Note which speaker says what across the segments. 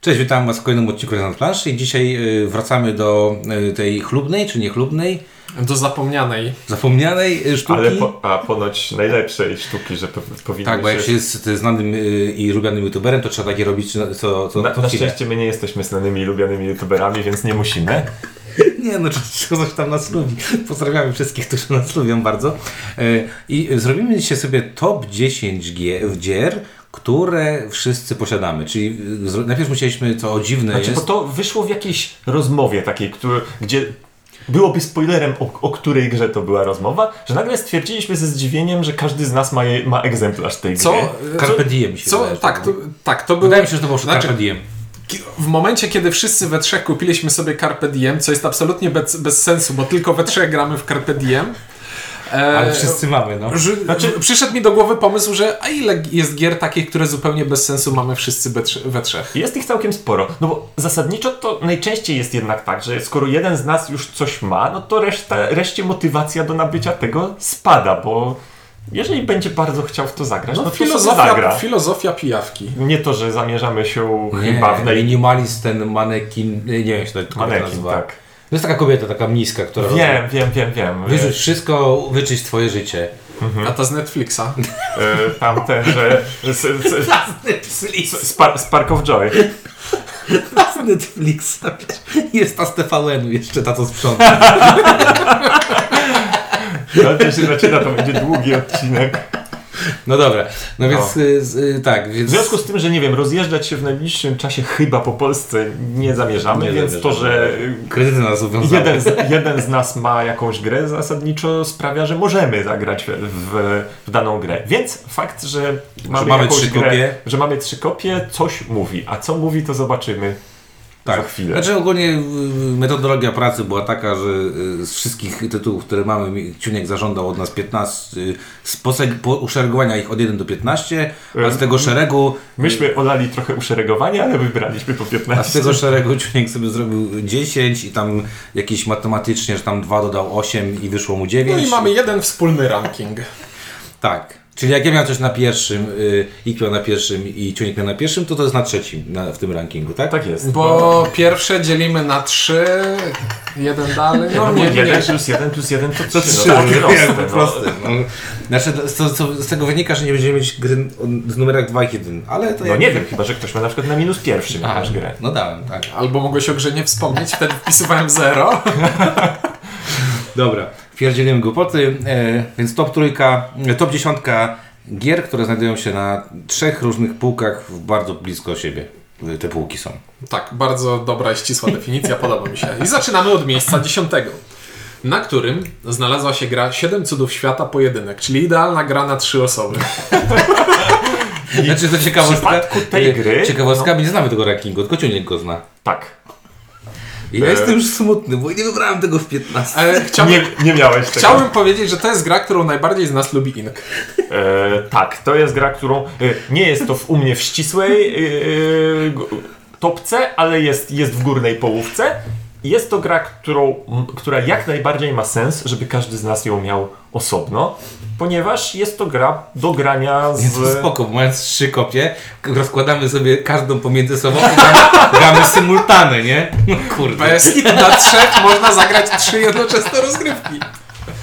Speaker 1: Cześć, witam Was w kolejnym odcinku Rezonans Planszy i dzisiaj y, wracamy do y, tej chlubnej, czy niechlubnej,
Speaker 2: Do zapomnianej.
Speaker 1: zapomnianej y, sztuki.
Speaker 3: Ale po, a ponoć najlepszej sztuki, że po, powinno
Speaker 1: Tak, bo jak się jest y, znanym y, i lubianym youtuberem, to trzeba takie robić, no, co, co,
Speaker 3: Na,
Speaker 1: co
Speaker 3: na
Speaker 1: chwilę.
Speaker 3: szczęście my nie jesteśmy znanymi i lubianymi youtuberami, więc nie musimy.
Speaker 1: Nie, no czy czy ktoś tam nas lubi. Pozdrawiamy wszystkich, którzy nas lubią bardzo. Y, I zrobimy dzisiaj sobie top 10 gie- gier, które wszyscy posiadamy. Czyli y, zro- najpierw musieliśmy, co o dziwne
Speaker 3: Znaczy, bo
Speaker 1: jest...
Speaker 3: to wyszło w jakiejś rozmowie takiej, który, gdzie byłoby spoilerem, o, o której grze to była rozmowa, że nagle stwierdziliśmy ze zdziwieniem, że każdy z nas ma, je, ma egzemplarz tej
Speaker 2: Co?
Speaker 3: gry.
Speaker 1: Carpe diem mi się
Speaker 2: Co?
Speaker 1: wydaje,
Speaker 2: Tak,
Speaker 1: że
Speaker 2: to, tak, to było.
Speaker 1: Wydaje mi się, że to było
Speaker 2: Znaczy-
Speaker 1: Carpe
Speaker 3: e,
Speaker 1: Diem.
Speaker 2: Ki- W momencie, kiedy wszyscy we trzech kupiliśmy sobie Carpe Diem, co jest absolutnie bez, bez sensu, bo tylko we trzech gramy w Carpe Diem. E,
Speaker 1: Ale wszyscy mamy, no.
Speaker 2: ży- w- Przyszedł mi do głowy pomysł, że a ile jest gier takich, które zupełnie bez sensu mamy wszyscy we, trze- we trzech.
Speaker 3: Jest ich całkiem sporo, no bo zasadniczo to najczęściej jest jednak tak, że skoro jeden z nas już coś ma, no to reszta, reszcie motywacja do nabycia tego spada, bo jeżeli będzie bardzo chciał w to zagrać, no, to filozofia, zagra.
Speaker 2: filozofia, filozofia pijawki.
Speaker 3: Nie to, że zamierzamy się
Speaker 1: Nie,
Speaker 3: chyba w naj...
Speaker 1: minimalist, ten manekin, nie wiem jak się to kobieta
Speaker 3: Manekin,
Speaker 1: nazywa.
Speaker 3: tak.
Speaker 1: To jest taka kobieta, taka mniska, która... robi-
Speaker 3: Wiem, wiem, wiem, wiem.
Speaker 1: Wyrzuć wszystko, wyczyść twoje życie.
Speaker 2: A ta z Netflixa.
Speaker 3: E, Tamten, że... Z, z, z,
Speaker 1: Netflix.
Speaker 3: z, par, z Park of Joy.
Speaker 1: Z Netflix. Jest ta z tvn jeszcze ta co sprząta.
Speaker 3: No to się zaczyna, to będzie długi odcinek.
Speaker 1: No dobra, no więc y, z- y, tak,
Speaker 3: W
Speaker 1: więc...
Speaker 3: związku z tym, że nie wiem, rozjeżdżać się w najbliższym czasie chyba po Polsce nie zamierzamy,
Speaker 1: Nie
Speaker 3: więc to,
Speaker 1: zamierzamy.
Speaker 3: że
Speaker 1: Kredyty nas obowiązały.
Speaker 3: jeden z, jeden z nas ma jakąś grę zasadniczo sprawia, że możemy zagrać w, w, w daną grę. Więc fakt, że mamy,
Speaker 1: mamy
Speaker 3: jakąś
Speaker 1: trzy
Speaker 3: grę,
Speaker 1: kopie.
Speaker 3: że mamy trzy kopie, coś mówi. A co mówi, to zobaczymy
Speaker 2: Tak,
Speaker 3: za chwilę.
Speaker 1: Znaczy ogólnie y, metodologia pracy była taka, że y, z wszystkich tytułów, które mamy, mi- Ciuniek zażądał od nas 15, y, z poseg- po uszeregowania ich od 1 do 15, a
Speaker 2: Y,
Speaker 1: z tego szeregu y,
Speaker 3: Myśmy olali trochę uszeregowanie, ale wybraliśmy po
Speaker 1: A z
Speaker 3: 15.
Speaker 1: tego szeregu Ciuniek sobie zrobił 10 i tam jakieś matematycznie, że tam 2 dodał 8 i wyszło mu 9.
Speaker 2: No i mamy jeden wspólny ranking.
Speaker 1: Tak. Czyli jak ja miałem coś na pierwszym, y, IQ miał na pierwszym i Ciuniek miał na pierwszym, to to jest na trzecim na, w tym rankingu, tak?
Speaker 3: Tak jest.
Speaker 2: Bo pierwsze dzielimy na trzy, jeden dalej. No, nie, nie,
Speaker 3: 1 plus 1 plus 1 to 3. To
Speaker 1: Trzy,
Speaker 3: No,
Speaker 1: tak,
Speaker 3: takie
Speaker 1: jakby
Speaker 3: proste,
Speaker 1: proste,
Speaker 3: no.
Speaker 1: no. Znaczy, to, to, z tego wynika, że nie będziemy mieć gry o- z numerach 2 i 1, ale to
Speaker 3: no nie wiem, chyba że ktoś ma na przykład na minus pierwszym jakąś grę.
Speaker 1: No dałem, tak.
Speaker 2: Albo mogłeś o grze nie wspomnieć, wtedy wpisywałem zero.
Speaker 1: Dobra, pierdzielimy głupoty, e, więc top trójka, e, top dziesiątka gier, które znajdują się na trzech różnych półkach w bardzo blisko siebie. E, Te półki są.
Speaker 2: Tak, bardzo dobra i ścisła definicja, podoba mi się. I zaczynamy od miejsca dziesiątego, na którym znalazła się gra 7 cudów świata pojedynek, czyli idealna gra na trzy osoby.
Speaker 1: Znaczy to ciekawostka.
Speaker 3: przypadku tej
Speaker 1: e,
Speaker 3: gry- no.
Speaker 1: Ciekawostka, my nie znamy tego rankingu, tylko Ciuniek go zna.
Speaker 3: Tak.
Speaker 1: I ja
Speaker 3: E.
Speaker 1: jestem już smutny, bo nie wybrałem tego w 15.
Speaker 2: E, chciałbym,
Speaker 3: Nie, nie miałeś tego.
Speaker 2: chciałbym powiedzieć, że to jest gra, którą najbardziej z nas lubi Ink.
Speaker 3: E, tak, to jest gra, którą e, nie jest to w, u mnie w ścisłej e, e, g- topce, ale jest, jest w górnej połówce. Jest to gra, którą, m, która jak najbardziej ma sens, żeby każdy z nas ją miał osobno, ponieważ jest to gra do grania z...
Speaker 1: Więc spoko, bo mając trzy kopie, k- rozkładamy sobie każdą pomiędzy sobą i gramy- gramy symultane, nie? No kurde.
Speaker 2: Bez hit E, na trzech można zagrać trzy jednoczesne rozgrywki.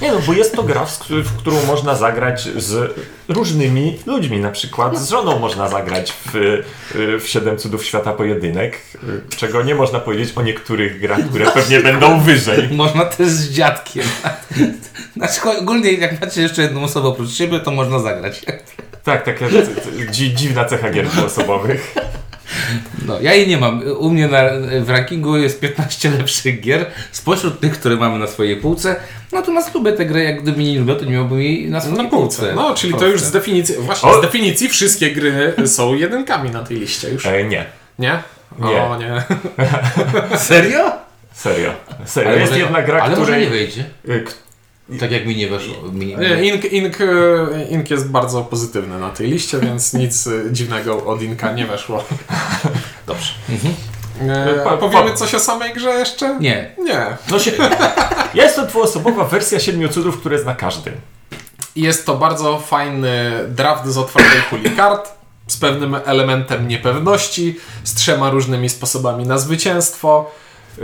Speaker 3: Nie no, bo jest to gra, w, któ- w którą można zagrać z różnymi ludźmi, na przykład z żoną można zagrać w, e, w Siedem Cudów Świata Pojedynek, e, czego nie można powiedzieć o niektórych grach, które pewnie będą wyżej.
Speaker 1: Można też z dziadkiem. Znaczy ogólnie jak macie jeszcze jedną osobę oprócz siebie, to można zagrać.
Speaker 3: Tak, taka c- c- dzi- dziwna cecha gier dwuosobowych.
Speaker 1: No, ja jej nie mam. U mnie na, w rankingu jest 15 lepszych gier spośród tych, które mamy na swojej półce. No Natomiast lubię tę grę, jak gdyby nie lubię, to nie miałbym jej na swojej półce.
Speaker 2: No, czyli to
Speaker 1: Proste.
Speaker 2: już z definicji, właśnie
Speaker 3: O!
Speaker 2: z definicji wszystkie gry są jedynkami na tej liście już.
Speaker 3: E, nie,
Speaker 2: Nie?
Speaker 3: Nie.
Speaker 2: O nie.
Speaker 1: Serio?
Speaker 3: serio. serio. jest
Speaker 1: może-
Speaker 3: jedna gra,
Speaker 1: ale może nie
Speaker 3: której...
Speaker 1: wyjdzie.
Speaker 3: e, k-
Speaker 1: Tak jak mi nie weszło. Mi nie,
Speaker 2: Nie, Ink, ink, e, ink jest bardzo pozytywny na tej liście, więc nic e, dziwnego od Inka nie weszło.
Speaker 1: Dobrze.
Speaker 2: E,
Speaker 3: Pa-
Speaker 2: a powiemy
Speaker 3: pa-
Speaker 2: coś o samej grze jeszcze?
Speaker 1: Nie.
Speaker 2: Nie.
Speaker 3: No się... Jest to dwuosobowa wersja Siedmiu Cudów, które zna każdy.
Speaker 2: Jest to bardzo fajny draft z otwartej puli kart. z pewnym elementem niepewności, z trzema różnymi sposobami na zwycięstwo.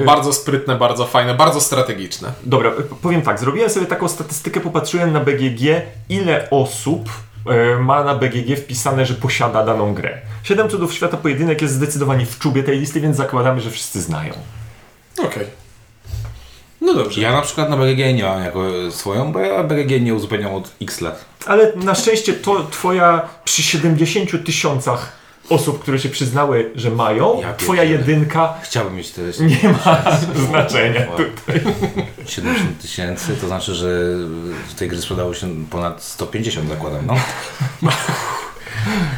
Speaker 2: Bardzo sprytne, bardzo fajne, bardzo strategiczne.
Speaker 3: Dobra, powiem tak, zrobiłem sobie taką statystykę, popatrzyłem na BGG, ile osób e, ma na BGG wpisane, że posiada daną grę. Siedem cudów świata pojedynek jest zdecydowanie w czubie tej listy, więc zakładamy, że wszyscy znają.
Speaker 2: Okej. No dobrze.
Speaker 1: Ja na przykład na BGG nie mam jako swoją, bo ja BGG nie uzupełniam od x lat.
Speaker 3: Ale na szczęście to twoja przy 70 tysiącach osób, które się przyznały, że mają,
Speaker 1: Ja
Speaker 3: twoja
Speaker 1: pierdzielę.
Speaker 3: jedynka
Speaker 1: Chciałbym mieć tyle
Speaker 3: nie ma znaczenia.
Speaker 1: Wow. 70 tysięcy, to znaczy, że z tej gry sprzedało się ponad 150 zakładam, no.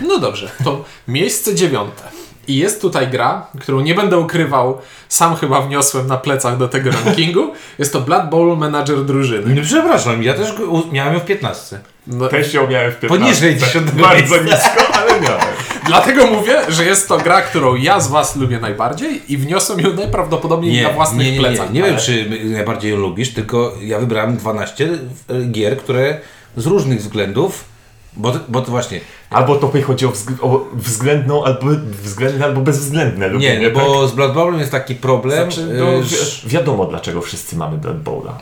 Speaker 2: No dobrze, to miejsce dziewiąte. I jest tutaj gra, którą nie będę ukrywał, sam chyba wniosłem na plecach do tego rankingu. Jest to Blood Bowl Manager drużyny.
Speaker 1: Nie No, przepraszam, ja też go u- miałem ją w 15.
Speaker 2: No,
Speaker 3: Też ją miałem w 15.
Speaker 1: Poniżej 10
Speaker 3: Bardzo nisko, ale miałem.
Speaker 2: dlatego mówię, że jest to gra, którą ja z Was lubię najbardziej i wniosłem ją najprawdopodobniej na własnych
Speaker 1: nie, nie,
Speaker 2: plecach.
Speaker 1: Nie, nie wiem,
Speaker 2: ale-
Speaker 1: czy my- najbardziej ją lubisz, tylko ja wybrałem 12 e, gier, które z różnych względów, bo, bo to właśnie,
Speaker 3: Albo to chodzi o, wzg- o względną, albo względne, albo bezwzględne lubienie,
Speaker 1: nie,
Speaker 3: tak?
Speaker 1: bo z Blood Bowlem jest taki problem,
Speaker 3: Znaczy, no,
Speaker 1: e,
Speaker 3: wi-
Speaker 1: że-
Speaker 3: wiadomo dlaczego wszyscy mamy Blood Bowla.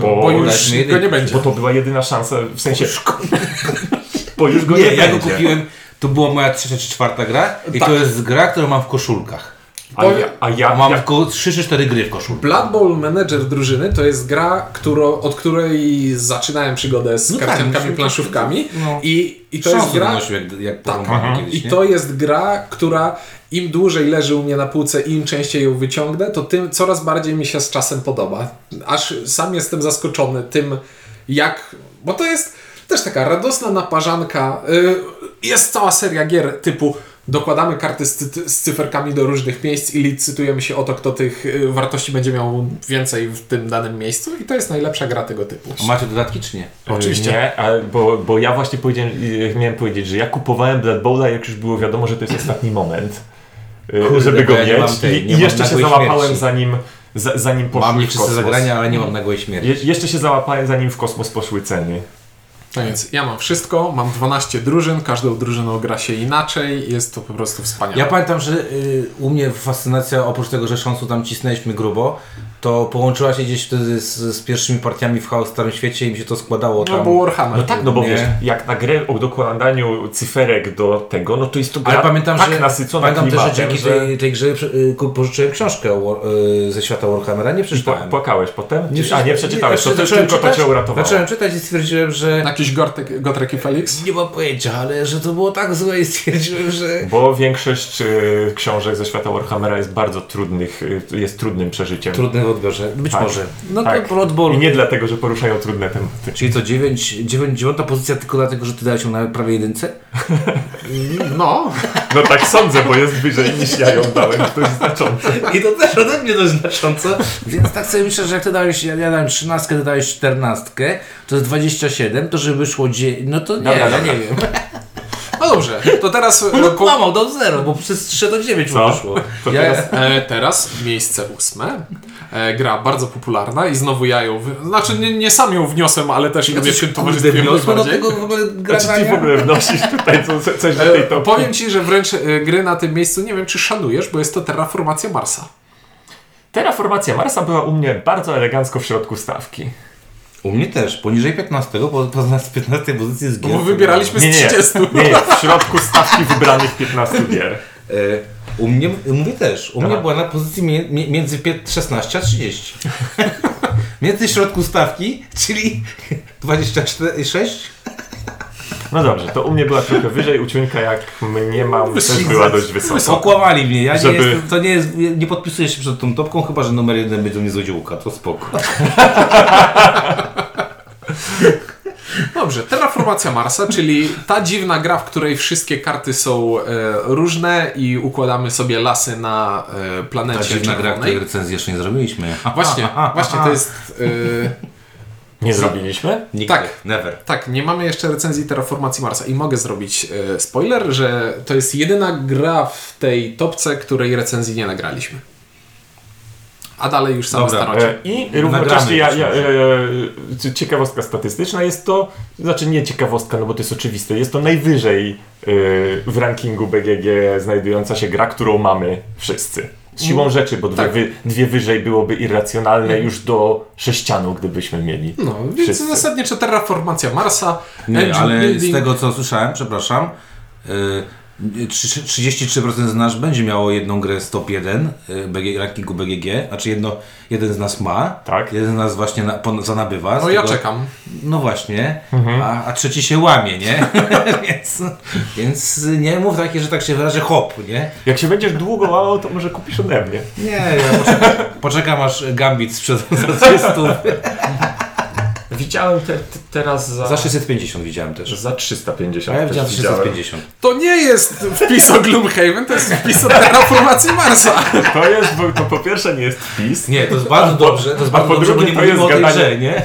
Speaker 2: Bo, już
Speaker 1: daliśmy
Speaker 2: go nie
Speaker 1: jedynkę.
Speaker 2: będzie.
Speaker 3: bo to była jedyna szansa, w sensie... Bo już go nie,
Speaker 1: nie, ja go
Speaker 3: będzie.
Speaker 1: kupiłem, to była moja trzecia czy czwarta gra i
Speaker 2: Tak.
Speaker 1: to jest gra, którą mam w koszulkach.
Speaker 3: A ja, a
Speaker 1: A
Speaker 3: ja,
Speaker 1: mam
Speaker 3: ja
Speaker 1: tylko 3 czy 4 gry w koszulkach.
Speaker 2: Blood Bowl Manager drużyny to jest gra, któro, od której zaczynałem przygodę z
Speaker 1: No tak,
Speaker 2: karciankami,
Speaker 1: myśmy-
Speaker 2: planszówkami
Speaker 1: no.
Speaker 2: i, i to
Speaker 1: Szansu
Speaker 2: jest gra,
Speaker 1: wynosił, jak, jak
Speaker 2: Tak.
Speaker 3: Mhm.
Speaker 1: porąbany kiedyś,
Speaker 2: I
Speaker 1: nie?
Speaker 2: to jest gra, która im dłużej leży u mnie na półce i im częściej ją wyciągnę, to tym coraz bardziej mi się z czasem podoba. Aż sam jestem zaskoczony tym, jak. Bo to jest też taka radosna naparzanka. Y, Jest cała seria gier typu. Dokładamy karty z, cy- z cyferkami do różnych miejsc i licytujemy się o to, kto tych y, wartości będzie miał więcej w tym danym miejscu. I to jest najlepsza gra tego typu.
Speaker 1: A macie dodatki czy nie?
Speaker 2: Oczywiście.
Speaker 3: E, Nie, a, bo, bo ja właśnie powiedziałem, y, miałem powiedzieć, że ja kupowałem Blood Bowla, jak już było wiadomo, że to jest ostatni moment, y,
Speaker 1: Kurde,
Speaker 3: żeby
Speaker 1: bo
Speaker 3: go
Speaker 1: ja nie mam
Speaker 3: mieć.
Speaker 1: tej, nie
Speaker 3: I
Speaker 1: mam
Speaker 3: jeszcze się
Speaker 1: nagłej
Speaker 3: załapałem
Speaker 1: śmierci.
Speaker 3: zanim, za, zanim poszły
Speaker 1: Mam
Speaker 3: w
Speaker 1: nieczyste
Speaker 3: kosmos.
Speaker 1: zagrania, ale nie mam nagłej śmierci.
Speaker 3: Je, jeszcze się załapałem zanim w kosmos poszły ceny.
Speaker 2: No więc ja mam wszystko, mam 12 drużyn, każdą drużyną gra się inaczej, jest to po prostu wspaniale.
Speaker 1: Ja pamiętam, że y, u mnie fascynacja, oprócz tego, że szansu tam cisnęliśmy grubo, to połączyła się gdzieś wtedy z, z pierwszymi partiami w Chaos w Starym Świecie i mi się to składało tam.
Speaker 2: no bo Warhammer.
Speaker 3: No tak, no bo
Speaker 1: Nie.
Speaker 3: wiesz, jak na grę o dokładaniu cyferek do tego, no to jest to gra
Speaker 1: Ale pamiętam,
Speaker 3: tak
Speaker 1: że,
Speaker 3: nasycona
Speaker 1: pamiętam też, że
Speaker 3: klimatem,
Speaker 1: dzięki tej, tej grze y, ku- pożyczyłem książkę o War- y, ze świata Warhammera, nie
Speaker 3: Pła-
Speaker 1: przeczytałem.
Speaker 3: Płakałeś potem? Czy- A
Speaker 1: przeczytałem.
Speaker 3: nie przeczytałeś, to
Speaker 1: Znaczy,
Speaker 3: ty-
Speaker 1: zacząłem
Speaker 3: tylko to
Speaker 1: czytać-
Speaker 3: cię uratowało.
Speaker 1: Zacząłem czytać i stwierdziłem, że
Speaker 2: Jakiś Gortek, Gotrek i Felix?
Speaker 1: nie mam pojęcia, ale że to było tak złe i stwierdziłem, że
Speaker 3: Bo większość y, książek ze świata Warhammera jest bardzo trudnych, y, jest trudnym przeżyciem.
Speaker 1: trudne w odbiorze. Być
Speaker 3: Tak.
Speaker 1: może. No
Speaker 3: Tak.
Speaker 1: to Blood Bowl.
Speaker 3: I nie dlatego, że poruszają trudne tematy.
Speaker 1: Czyli co, 9, 9, 9 pozycja tylko dlatego, że ty dałeś ją na prawie jedynce?
Speaker 2: No.
Speaker 3: No tak sądzę, bo jest wyżej niż ja ją dałem, to jest znaczące.
Speaker 1: I to też ode mnie dość znacząco. Więc tak sobie myślę, że jak ty dałeś, ja, ja dałem 13, ty dałeś 14, to jest 27, to żeby wyszło 10, no to nie,
Speaker 3: Dobra,
Speaker 1: ja
Speaker 3: dobra.
Speaker 1: nie wiem.
Speaker 2: No dobrze, to teraz...
Speaker 1: No
Speaker 2: e, po-
Speaker 1: kłamał do 0, bo przez 3 do 9
Speaker 3: Co?
Speaker 1: mu wyszło.
Speaker 3: To
Speaker 1: Ja,
Speaker 3: teraz-
Speaker 2: E, teraz miejsce ósme. E, gra bardzo popularna i znowu ja ją... W... Znaczy nie, nie sam ją wniosłem, ale też lubię w tym towarzystwie
Speaker 1: wniosłem do
Speaker 2: najbardziej.
Speaker 1: tego Znaczy, w ogóle
Speaker 3: Czy ty w
Speaker 1: grania.
Speaker 3: ogóle wnosisz tutaj co- coś do tej
Speaker 2: E,
Speaker 3: topki?
Speaker 2: powiem Ci, że wręcz e, gry na tym miejscu nie wiem, czy szanujesz, bo jest to Terraformacja Marsa.
Speaker 3: Terraformacja Marsa była u mnie bardzo elegancko w środku stawki.
Speaker 1: U mnie też, poniżej 15, bo poza 15 pozycji z gier.
Speaker 2: Bo wybieraliśmy z
Speaker 3: Nie, nie,
Speaker 2: 30.
Speaker 3: nie, nie, w środku stawki wybranych 15 gier.
Speaker 1: E, u mnie, mówię też, u
Speaker 3: Aha.
Speaker 1: mnie była na pozycji mie, mie, między pię- 16 a 30. między środku stawki, czyli 26
Speaker 3: No dobrze, to u mnie była trochę wyżej, uciunka jak mnie mam też była dość wysoka.
Speaker 1: Okłamali mnie, ja
Speaker 3: Żeby-
Speaker 1: nie jestem, to nie jest, nie- nie podpisuję się przed tą topką, chyba że numer jeden będzie mnie z odziółka, to spoko.
Speaker 2: Dobrze, Terraformacja Marsa, czyli ta dziwna gra, w której wszystkie karty są e, różne i układamy sobie lasy na e, planecie
Speaker 1: Ta dziwna gra,
Speaker 2: czerwonej.
Speaker 1: której recenzji jeszcze nie zrobiliśmy.
Speaker 2: Właśnie, właśnie to jest... e,
Speaker 3: Nie zrobiliśmy?
Speaker 1: Nigdy.
Speaker 2: tak.
Speaker 1: Never.
Speaker 2: E, tak, nie mamy jeszcze recenzji Terraformacji Marsa i mogę zrobić e, spoiler, że to jest jedyna gra w tej topce, której recenzji nie nagraliśmy. A dalej już same
Speaker 1: Dobra,
Speaker 2: starocie.
Speaker 3: E, I równocześnie
Speaker 1: Nagramy
Speaker 3: ja,
Speaker 1: to
Speaker 3: ja,
Speaker 1: sobie.
Speaker 3: e, c- ciekawostka statystyczna jest to, znaczy nie ciekawostka, no bo to jest oczywiste, jest to najwyżej e, w rankingu BGG znajdująca się gra, którą mamy wszyscy. Z siłą rzeczy, bo dwie,
Speaker 2: tak.
Speaker 3: wy, dwie wyżej byłoby irracjonalne już do sześcianu, gdybyśmy mieli.
Speaker 2: No, więc
Speaker 3: wszyscy.
Speaker 2: zasadniczo terraformacja Marsa,
Speaker 1: Nie,
Speaker 2: engine
Speaker 1: ale
Speaker 2: building.
Speaker 1: z tego co słyszałem, przepraszam, y, trzy- 33% z nas będzie miało jedną grę z top 1 y, BG, rankingu BGG, znaczy jedno, jeden z nas ma,
Speaker 3: Tak.
Speaker 1: jeden z nas właśnie na, pon, zanabywa. z
Speaker 2: No ja
Speaker 1: tego-
Speaker 2: czekam.
Speaker 1: No właśnie,
Speaker 3: Mhm.
Speaker 1: a, a trzeci się łamie, nie? więc, więc nie mów takie, że tak się wyrażę, hop, nie?
Speaker 3: Jak się będziesz długo łamał, to może kupisz ode mnie.
Speaker 1: Nie, ja poczekam, poczekam aż Gambit sprzedam za 300.
Speaker 3: Widziałem te, te, teraz za,
Speaker 1: Za 650 widziałem też.
Speaker 3: za 350.
Speaker 1: A ja
Speaker 3: też
Speaker 1: widziałem za 650.
Speaker 2: To nie jest wpis o Gloomhaven, to jest wpis o terraformacji Marsa.
Speaker 3: To jest, bo to po pierwsze nie jest wpis,
Speaker 1: Nie, to jest bardzo dobrze, to jest
Speaker 3: a
Speaker 1: bardzo
Speaker 3: po
Speaker 1: dobrze, bo
Speaker 3: drugie
Speaker 1: nie
Speaker 3: to
Speaker 1: mówimy o
Speaker 3: jest
Speaker 1: tej
Speaker 3: gadanie.
Speaker 1: grze, nie?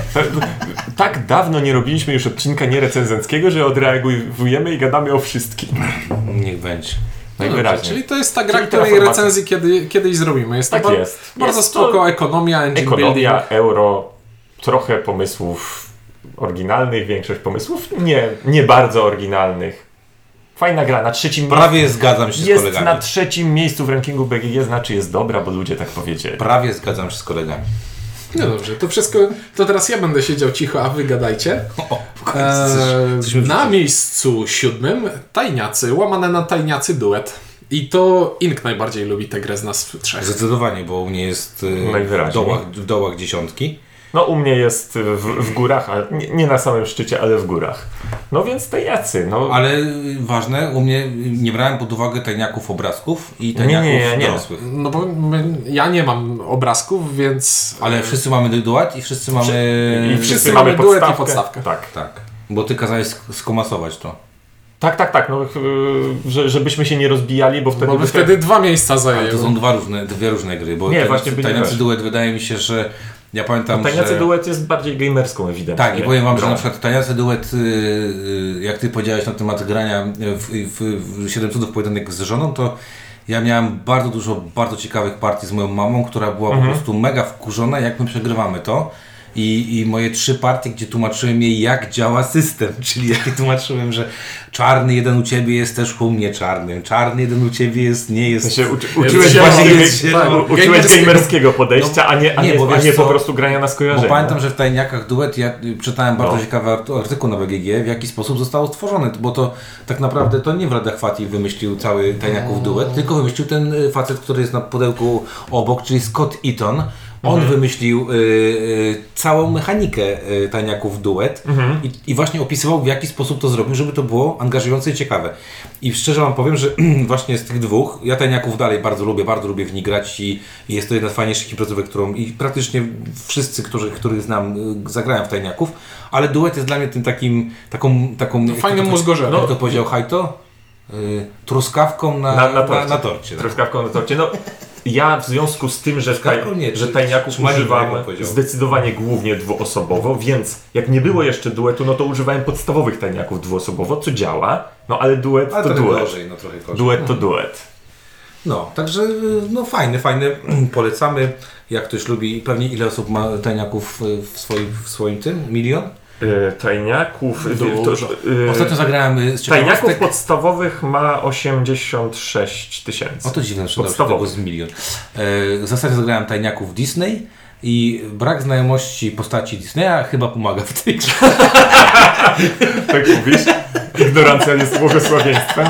Speaker 3: Tak dawno nie robiliśmy już odcinka nierecenzenckiego, że odreagujemy i gadamy o wszystkim.
Speaker 1: Niech będzie.
Speaker 2: Dobrze, No,
Speaker 3: Najwyraźniej.
Speaker 2: czyli to jest ta gra,
Speaker 3: Czyli
Speaker 2: której
Speaker 3: terraformacja.
Speaker 2: recenzji kiedy, kiedyś zrobimy. Jest
Speaker 3: Tak
Speaker 2: to ba-
Speaker 3: jest.
Speaker 2: bardzo
Speaker 3: Jest to
Speaker 2: spoko, ekonomia, engine building.
Speaker 3: Ekonomia, euro, trochę pomysłów oryginalnych, większość pomysłów nie, nie bardzo oryginalnych. Fajna gra, na trzecim
Speaker 1: Prawie zgadzam się z
Speaker 3: jest
Speaker 1: kolegami.
Speaker 3: na trzecim miejscu w rankingu BGG, znaczy jest dobra, bo ludzie tak powiedzieli.
Speaker 1: Prawie zgadzam się z kolegami.
Speaker 2: No dobrze, to wszystko, to teraz ja będę siedział cicho, a wy gadajcie.
Speaker 1: O,
Speaker 2: Eee, na miejscu siódmym Tajniacy, łamane na Tajniacy duet. I to Ink najbardziej lubi tę grę z nas trzech.
Speaker 1: Zdecydowanie, bo u mnie jest
Speaker 3: No
Speaker 1: y, w
Speaker 3: Najwyraźniej.
Speaker 1: dołach, w dołach dziesiątki.
Speaker 3: No u mnie jest w, w górach, ale nie, nie na samym szczycie, ale w górach. No więc te jacy, no.
Speaker 1: Ale y, ważne, u mnie y, nie brałem pod uwagę tajniaków obrazków i
Speaker 3: nie,
Speaker 1: tajniaków
Speaker 3: nie, nie.
Speaker 1: dorosłych.
Speaker 2: No bo my, ja nie mam obrazków, więc...
Speaker 1: Ale wszyscy mamy duet i wszyscy mamy...
Speaker 3: I
Speaker 2: wszyscy
Speaker 3: wszyscy mamy
Speaker 2: mamy duet i
Speaker 3: podstawkę.
Speaker 2: podstawkę.
Speaker 3: Tak.
Speaker 1: Tak, bo ty kazałeś sk- skomasować to.
Speaker 3: Tak, tak, tak. No, yy, że, żebyśmy się nie rozbijali, bo wtedy.
Speaker 2: Bo by
Speaker 3: by te-
Speaker 2: wtedy dwa miejsca
Speaker 1: Ale to
Speaker 2: zajęły.
Speaker 1: są dwa różne, dwie różne gry, bo
Speaker 3: Nie,
Speaker 1: tajniacy-
Speaker 3: właśnie No, by nie
Speaker 1: tajniacy
Speaker 3: weszło.
Speaker 1: duet wydaje mi się, że ja pamiętam,
Speaker 3: Tajniacy
Speaker 1: że...
Speaker 3: duet jest bardziej gamerską ewidentnie.
Speaker 1: Tak, i powiem wam, że
Speaker 3: Grą.
Speaker 1: na przykład Tajniacy Duet, y, y, jak ty powiedziałeś na temat grania w, w, w 7 cudów pojedynek z żoną, to ja miałem bardzo dużo bardzo ciekawych partii z moją mamą, która była po prostu mega wkurzona, jak my przegrywamy to. I, I moje trzy partie, gdzie tłumaczyłem jej, jak działa system, czyli jak jej tłumaczyłem, że czarny jeden u ciebie jest też u mnie czarnym, czarny jeden u ciebie jest, nie jest.
Speaker 3: Ja się uczy,
Speaker 2: Jest
Speaker 3: uczyłeś
Speaker 2: się-
Speaker 3: właśnie
Speaker 1: jest no.
Speaker 3: gej-
Speaker 1: się-
Speaker 3: u- uczyłeś
Speaker 2: gamerskiego.
Speaker 3: gamerskiego, podejścia, a nie, a
Speaker 1: No, nie,
Speaker 3: nie,
Speaker 1: bo
Speaker 3: a
Speaker 1: wiesz
Speaker 3: nie
Speaker 1: co?
Speaker 3: po prostu grania na skojarzenie.
Speaker 1: Bo pamiętam, że w Tajniakach Duet ja y, czytałem bardzo
Speaker 3: No.
Speaker 1: ciekawy art- artykuł na BGG, w jaki sposób zostało stworzone, bo to tak naprawdę to nie Wrada Chwati wymyślił cały Tajniaków Duet, tylko wymyślił ten y, facet, który jest na pudełku obok, czyli Scott Eaton. On wymyślił y, y, całą mechanikę y, Tajniaków Duet i, i właśnie opisywał w jaki sposób to zrobił, żeby to było angażujące i ciekawe. I szczerze Wam powiem, że właśnie z tych dwóch, ja Tajniaków dalej bardzo lubię, bardzo lubię w nich grać i i jest to jedna z fajniejszych imprezówek, którą i praktycznie wszyscy, którzy, których znam, y, zagrają w Tajniaków, ale duet jest dla mnie tym takim, taką, taką jak
Speaker 2: Fajnym
Speaker 1: to-
Speaker 2: mózgorzelem.
Speaker 1: Jak to powiedział Hajto? Y, truskawką na,
Speaker 3: Na-
Speaker 1: na, na,
Speaker 3: na torcie.
Speaker 1: na torcie. tak.
Speaker 3: Truskawką na torcie. No, ja w związku z tym, że, taj,
Speaker 1: Truskawką nie,
Speaker 3: że
Speaker 1: czy-
Speaker 3: tajniaków
Speaker 1: czy Maniakiem,
Speaker 3: używam
Speaker 1: jak powiedział.
Speaker 3: zdecydowanie głównie dwuosobowo, więc jak nie było jeszcze duetu, no to używałem podstawowych tajniaków dwuosobowo, co działa, no ale duet
Speaker 1: Ale
Speaker 3: to
Speaker 1: trochę
Speaker 3: duet.
Speaker 1: gorzej, no trochę gorzej.
Speaker 3: Duet to duet.
Speaker 1: No, także y, no fajne, fajne, polecamy. Jak ktoś lubi, pewnie ile osób ma Tajniaków y, w swoim, w swoim tym? Milion?
Speaker 3: E, Tajniaków.
Speaker 2: Dużo.
Speaker 3: e,
Speaker 1: Ostatnio zagrałem y, z
Speaker 3: Tajniaków
Speaker 1: ciekawostek-
Speaker 3: podstawowych ma 86 tysięcy.
Speaker 1: O to dziwne, że dobrze,
Speaker 3: Podstawowy.
Speaker 1: tego z milion. E, zasadzie zagrałem tajniaków Disney i brak znajomości postaci Disneya chyba pomaga w tej grze.
Speaker 3: Tak mówisz? Ignorancja jest błogosławieństwem.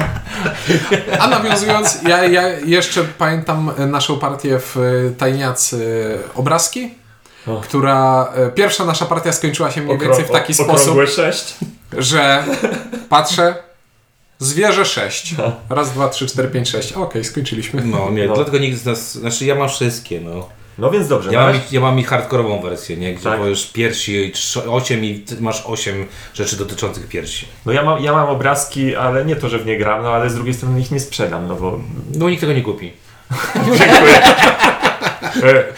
Speaker 2: A nawiązując, ja, ja jeszcze pamiętam e, naszą partię w e, Tajniacy Obrazki, która... e, Pierwsza nasza partia skończyła się mniej więcej w taki sposób,
Speaker 3: Okrągłe 6.
Speaker 2: że patrzę, zwierzę 6. Raz, dwa, trzy, cztery, pięć, sześć. Okej, skończyliśmy.
Speaker 1: No nie,
Speaker 3: No.
Speaker 1: dlatego nikt z nas, znaczy ja mam wszystkie, no.
Speaker 3: No więc dobrze.
Speaker 1: Ja
Speaker 3: na
Speaker 1: mam,
Speaker 3: razie-
Speaker 1: ich- ja mam i hardkorową wersję, nie, gdzie
Speaker 3: Tak.
Speaker 1: już piersi, 8 i ty masz 8 rzeczy dotyczących piersi.
Speaker 3: No ja mam, ja mam obrazki, ale nie to, że w nie gram, no ale z drugiej strony ich nie sprzedam, no bo...
Speaker 1: No nikt tego nie kupi.
Speaker 3: Dziękuję.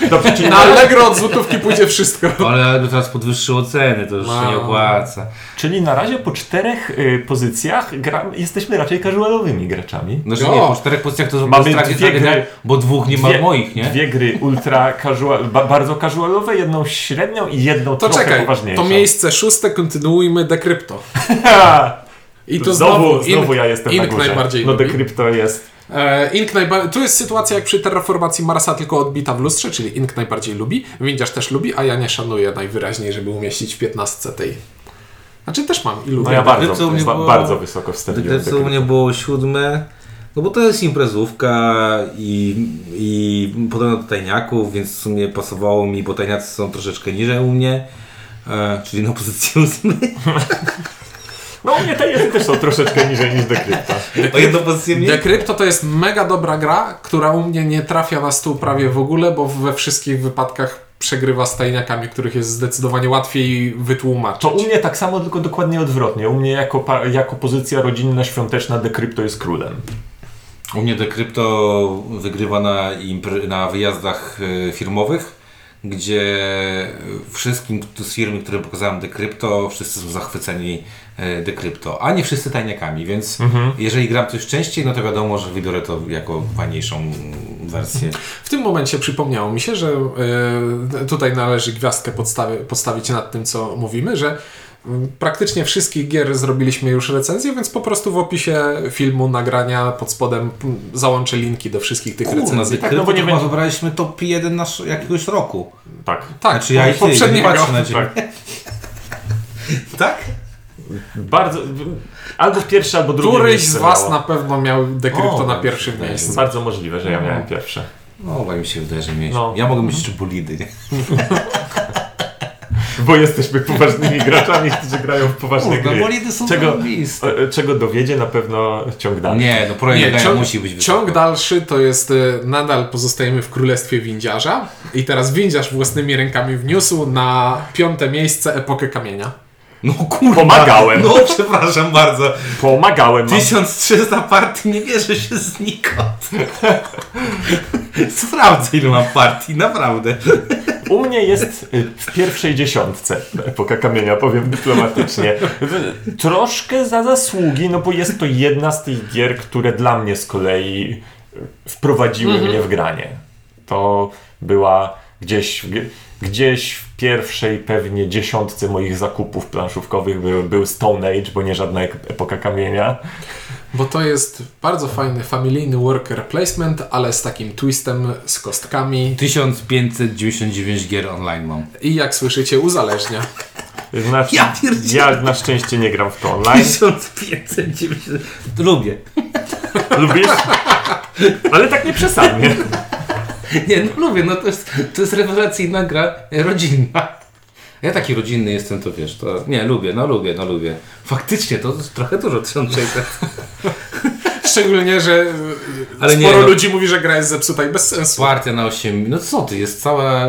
Speaker 3: E, Dobrze, czyli
Speaker 2: Na Allegro od złotówki pójdzie wszystko.
Speaker 1: Ale jakby teraz podwyższyło ceny, to już się nie
Speaker 2: Wow.
Speaker 1: opłaca.
Speaker 3: Czyli na razie po czterech y, pozycjach gra, jesteśmy raczej casualowymi graczami.
Speaker 1: Znaczy
Speaker 2: No.
Speaker 1: nie, po czterech pozycjach to
Speaker 3: Mamy
Speaker 1: zrobię stracie
Speaker 3: dwie
Speaker 1: dwie
Speaker 3: gry.
Speaker 1: bo dwóch nie ma
Speaker 3: Dwie-
Speaker 1: moich, nie?
Speaker 3: Dwie gry ultra casual, ba, bardzo casualowe, jedną średnią i jedną
Speaker 2: To
Speaker 3: trochę
Speaker 2: czekaj,
Speaker 3: poważniejszą.
Speaker 2: to miejsce szóste kontynuujmy dekrypto.
Speaker 3: Ha!
Speaker 2: I to
Speaker 3: Znowu,
Speaker 2: znowu,
Speaker 3: znowu, ja jestem
Speaker 2: Ink
Speaker 3: na górze.
Speaker 2: najbardziej
Speaker 3: no
Speaker 2: lubi.
Speaker 3: dekrypto jest.
Speaker 2: E, Ink najba- tu jest sytuacja jak przy terraformacji Marsa, tylko odbita w lustrze, czyli Ink najbardziej lubi, Windiarz też lubi, a ja nie szanuję najwyraźniej, żeby umieścić w 15 tej. Znaczy też mam i lubię.
Speaker 3: No ja
Speaker 1: Dekrypto
Speaker 3: bardzo,
Speaker 1: u mnie
Speaker 3: ba,
Speaker 1: było-
Speaker 3: bardzo wysoko wstawiłem
Speaker 1: Dekrypto u
Speaker 3: dekrypto.
Speaker 1: mnie było siódme, no bo to jest imprezówka i, i podobno do tajniaków, więc w sumie pasowało mi, bo tajniacy są troszeczkę niżej u mnie, e, czyli na pozycji ósmej.
Speaker 3: No u mnie te jedy też są troszeczkę niżej niż tak. dekrypto.
Speaker 1: O jedną pozycję
Speaker 3: No
Speaker 1: mniej.
Speaker 2: Decrypto to jest mega dobra gra, która u mnie nie trafia na stół prawie w ogóle, bo we wszystkich wypadkach przegrywa z tajniakami, których jest zdecydowanie łatwiej wytłumaczyć.
Speaker 3: To u mnie tak samo, tylko dokładnie odwrotnie. U mnie jako, pa- jako pozycja rodzinna, świąteczna dekrypto jest królem.
Speaker 1: U mnie dekrypto wygrywa na, impre- na wyjazdach e, firmowych, gdzie wszystkim kto- z firmy, którym pokazałem dekrypto, wszyscy są zachwyceni e, dekrypto, a nie wszyscy tajniakami, więc jeżeli gram coś częściej, no to wiadomo, że wybiorę to jako fajniejszą wersję.
Speaker 2: W tym momencie przypomniało mi się, że y, tutaj należy gwiazdkę podstawi- podstawić nad tym, co mówimy, że y, praktycznie wszystkich gier zrobiliśmy już recenzję, więc po prostu w opisie filmu, nagrania pod spodem p- załączę linki do wszystkich tych
Speaker 1: Kurna,
Speaker 2: recenzji.
Speaker 1: dekrypto tak, no bo nie chyba
Speaker 3: będzie-
Speaker 1: wybraliśmy top 1 nasz, jakiegoś roku.
Speaker 3: Tak.
Speaker 2: Tak,
Speaker 1: Znaczy ja i ty, nie
Speaker 2: poprzedniego.
Speaker 1: patrzę na ciebie.
Speaker 3: tak.
Speaker 1: Tak?
Speaker 3: Bardzo, albo pierwsze, albo drugie
Speaker 2: Któryś z
Speaker 3: miejsce
Speaker 2: Was
Speaker 3: miało.
Speaker 2: na pewno miał dekrypto
Speaker 1: O,
Speaker 2: na
Speaker 1: tak,
Speaker 2: pierwszym
Speaker 1: tak.
Speaker 2: miejscu.
Speaker 3: Bardzo możliwe, że ja miałem pierwsze.
Speaker 1: No, bo mi się wydaje, że mieliśmy.
Speaker 3: No.
Speaker 1: Ja mogę mieć jeszcze bolidy, nie?
Speaker 3: Bo jesteśmy poważnymi graczami, którzy grają w poważne
Speaker 1: Kurwa,
Speaker 3: gry.
Speaker 1: bolidy są
Speaker 3: Czego,
Speaker 1: zajebiste.
Speaker 3: e, czego dowiedzie na pewno ciąg dalszy.
Speaker 1: Nie, no projekt
Speaker 2: Nie,
Speaker 1: Gaia
Speaker 2: ciąg,
Speaker 1: musi być wysoko.
Speaker 2: ciąg dalszy to jest y, nadal pozostajemy w królestwie windziarza i teraz windziarz własnymi rękami wniósł na piąte miejsce epokę kamienia.
Speaker 1: No kurwa.
Speaker 3: Pomagałem.
Speaker 1: No przepraszam bardzo. No.
Speaker 3: Pomagałem. Mam.
Speaker 1: 1300 partii nie bierze się znikąd. Sprawdzę ile mam partii, naprawdę.
Speaker 3: U mnie jest y, w pierwszej dziesiątce epoka kamienia, powiem dyplomatycznie. W- Troszkę za zasługi, no bo jest to jedna z tych gier, które dla mnie z kolei y, wprowadziły
Speaker 1: Mhm.
Speaker 3: mnie w granie. To była gdzieś, w- gdzieś w pierwszej pewnie dziesiątce moich zakupów planszówkowych był, był Stone Age, bo nie żadna ek- epoka kamienia.
Speaker 2: Bo to jest bardzo fajny familijny worker placement, ale z takim twistem, z kostkami
Speaker 1: 1599 gier online mam.
Speaker 2: i jak słyszycie uzależnia.
Speaker 3: Znaczy,
Speaker 1: Ja pierdzielę.
Speaker 3: ja na szczęście nie gram w to online.
Speaker 1: 1599. Lubię.
Speaker 3: Lubisz? Ale tak nie przesadnie.
Speaker 1: Nie, no lubię, no to jest, to jest rewelacyjna gra rodzinna. Ja taki rodzinny jestem, to wiesz, to... Nie, lubię, no lubię, no lubię. Faktycznie, to jest trochę dużo, 1600.
Speaker 2: Szczególnie, że
Speaker 1: Ale
Speaker 2: ale
Speaker 1: nie,
Speaker 2: sporo
Speaker 1: no.
Speaker 2: ludzi mówi, że gra jest zepsuta i bez sensu.
Speaker 1: Partia na 8 No co ty, jest cała,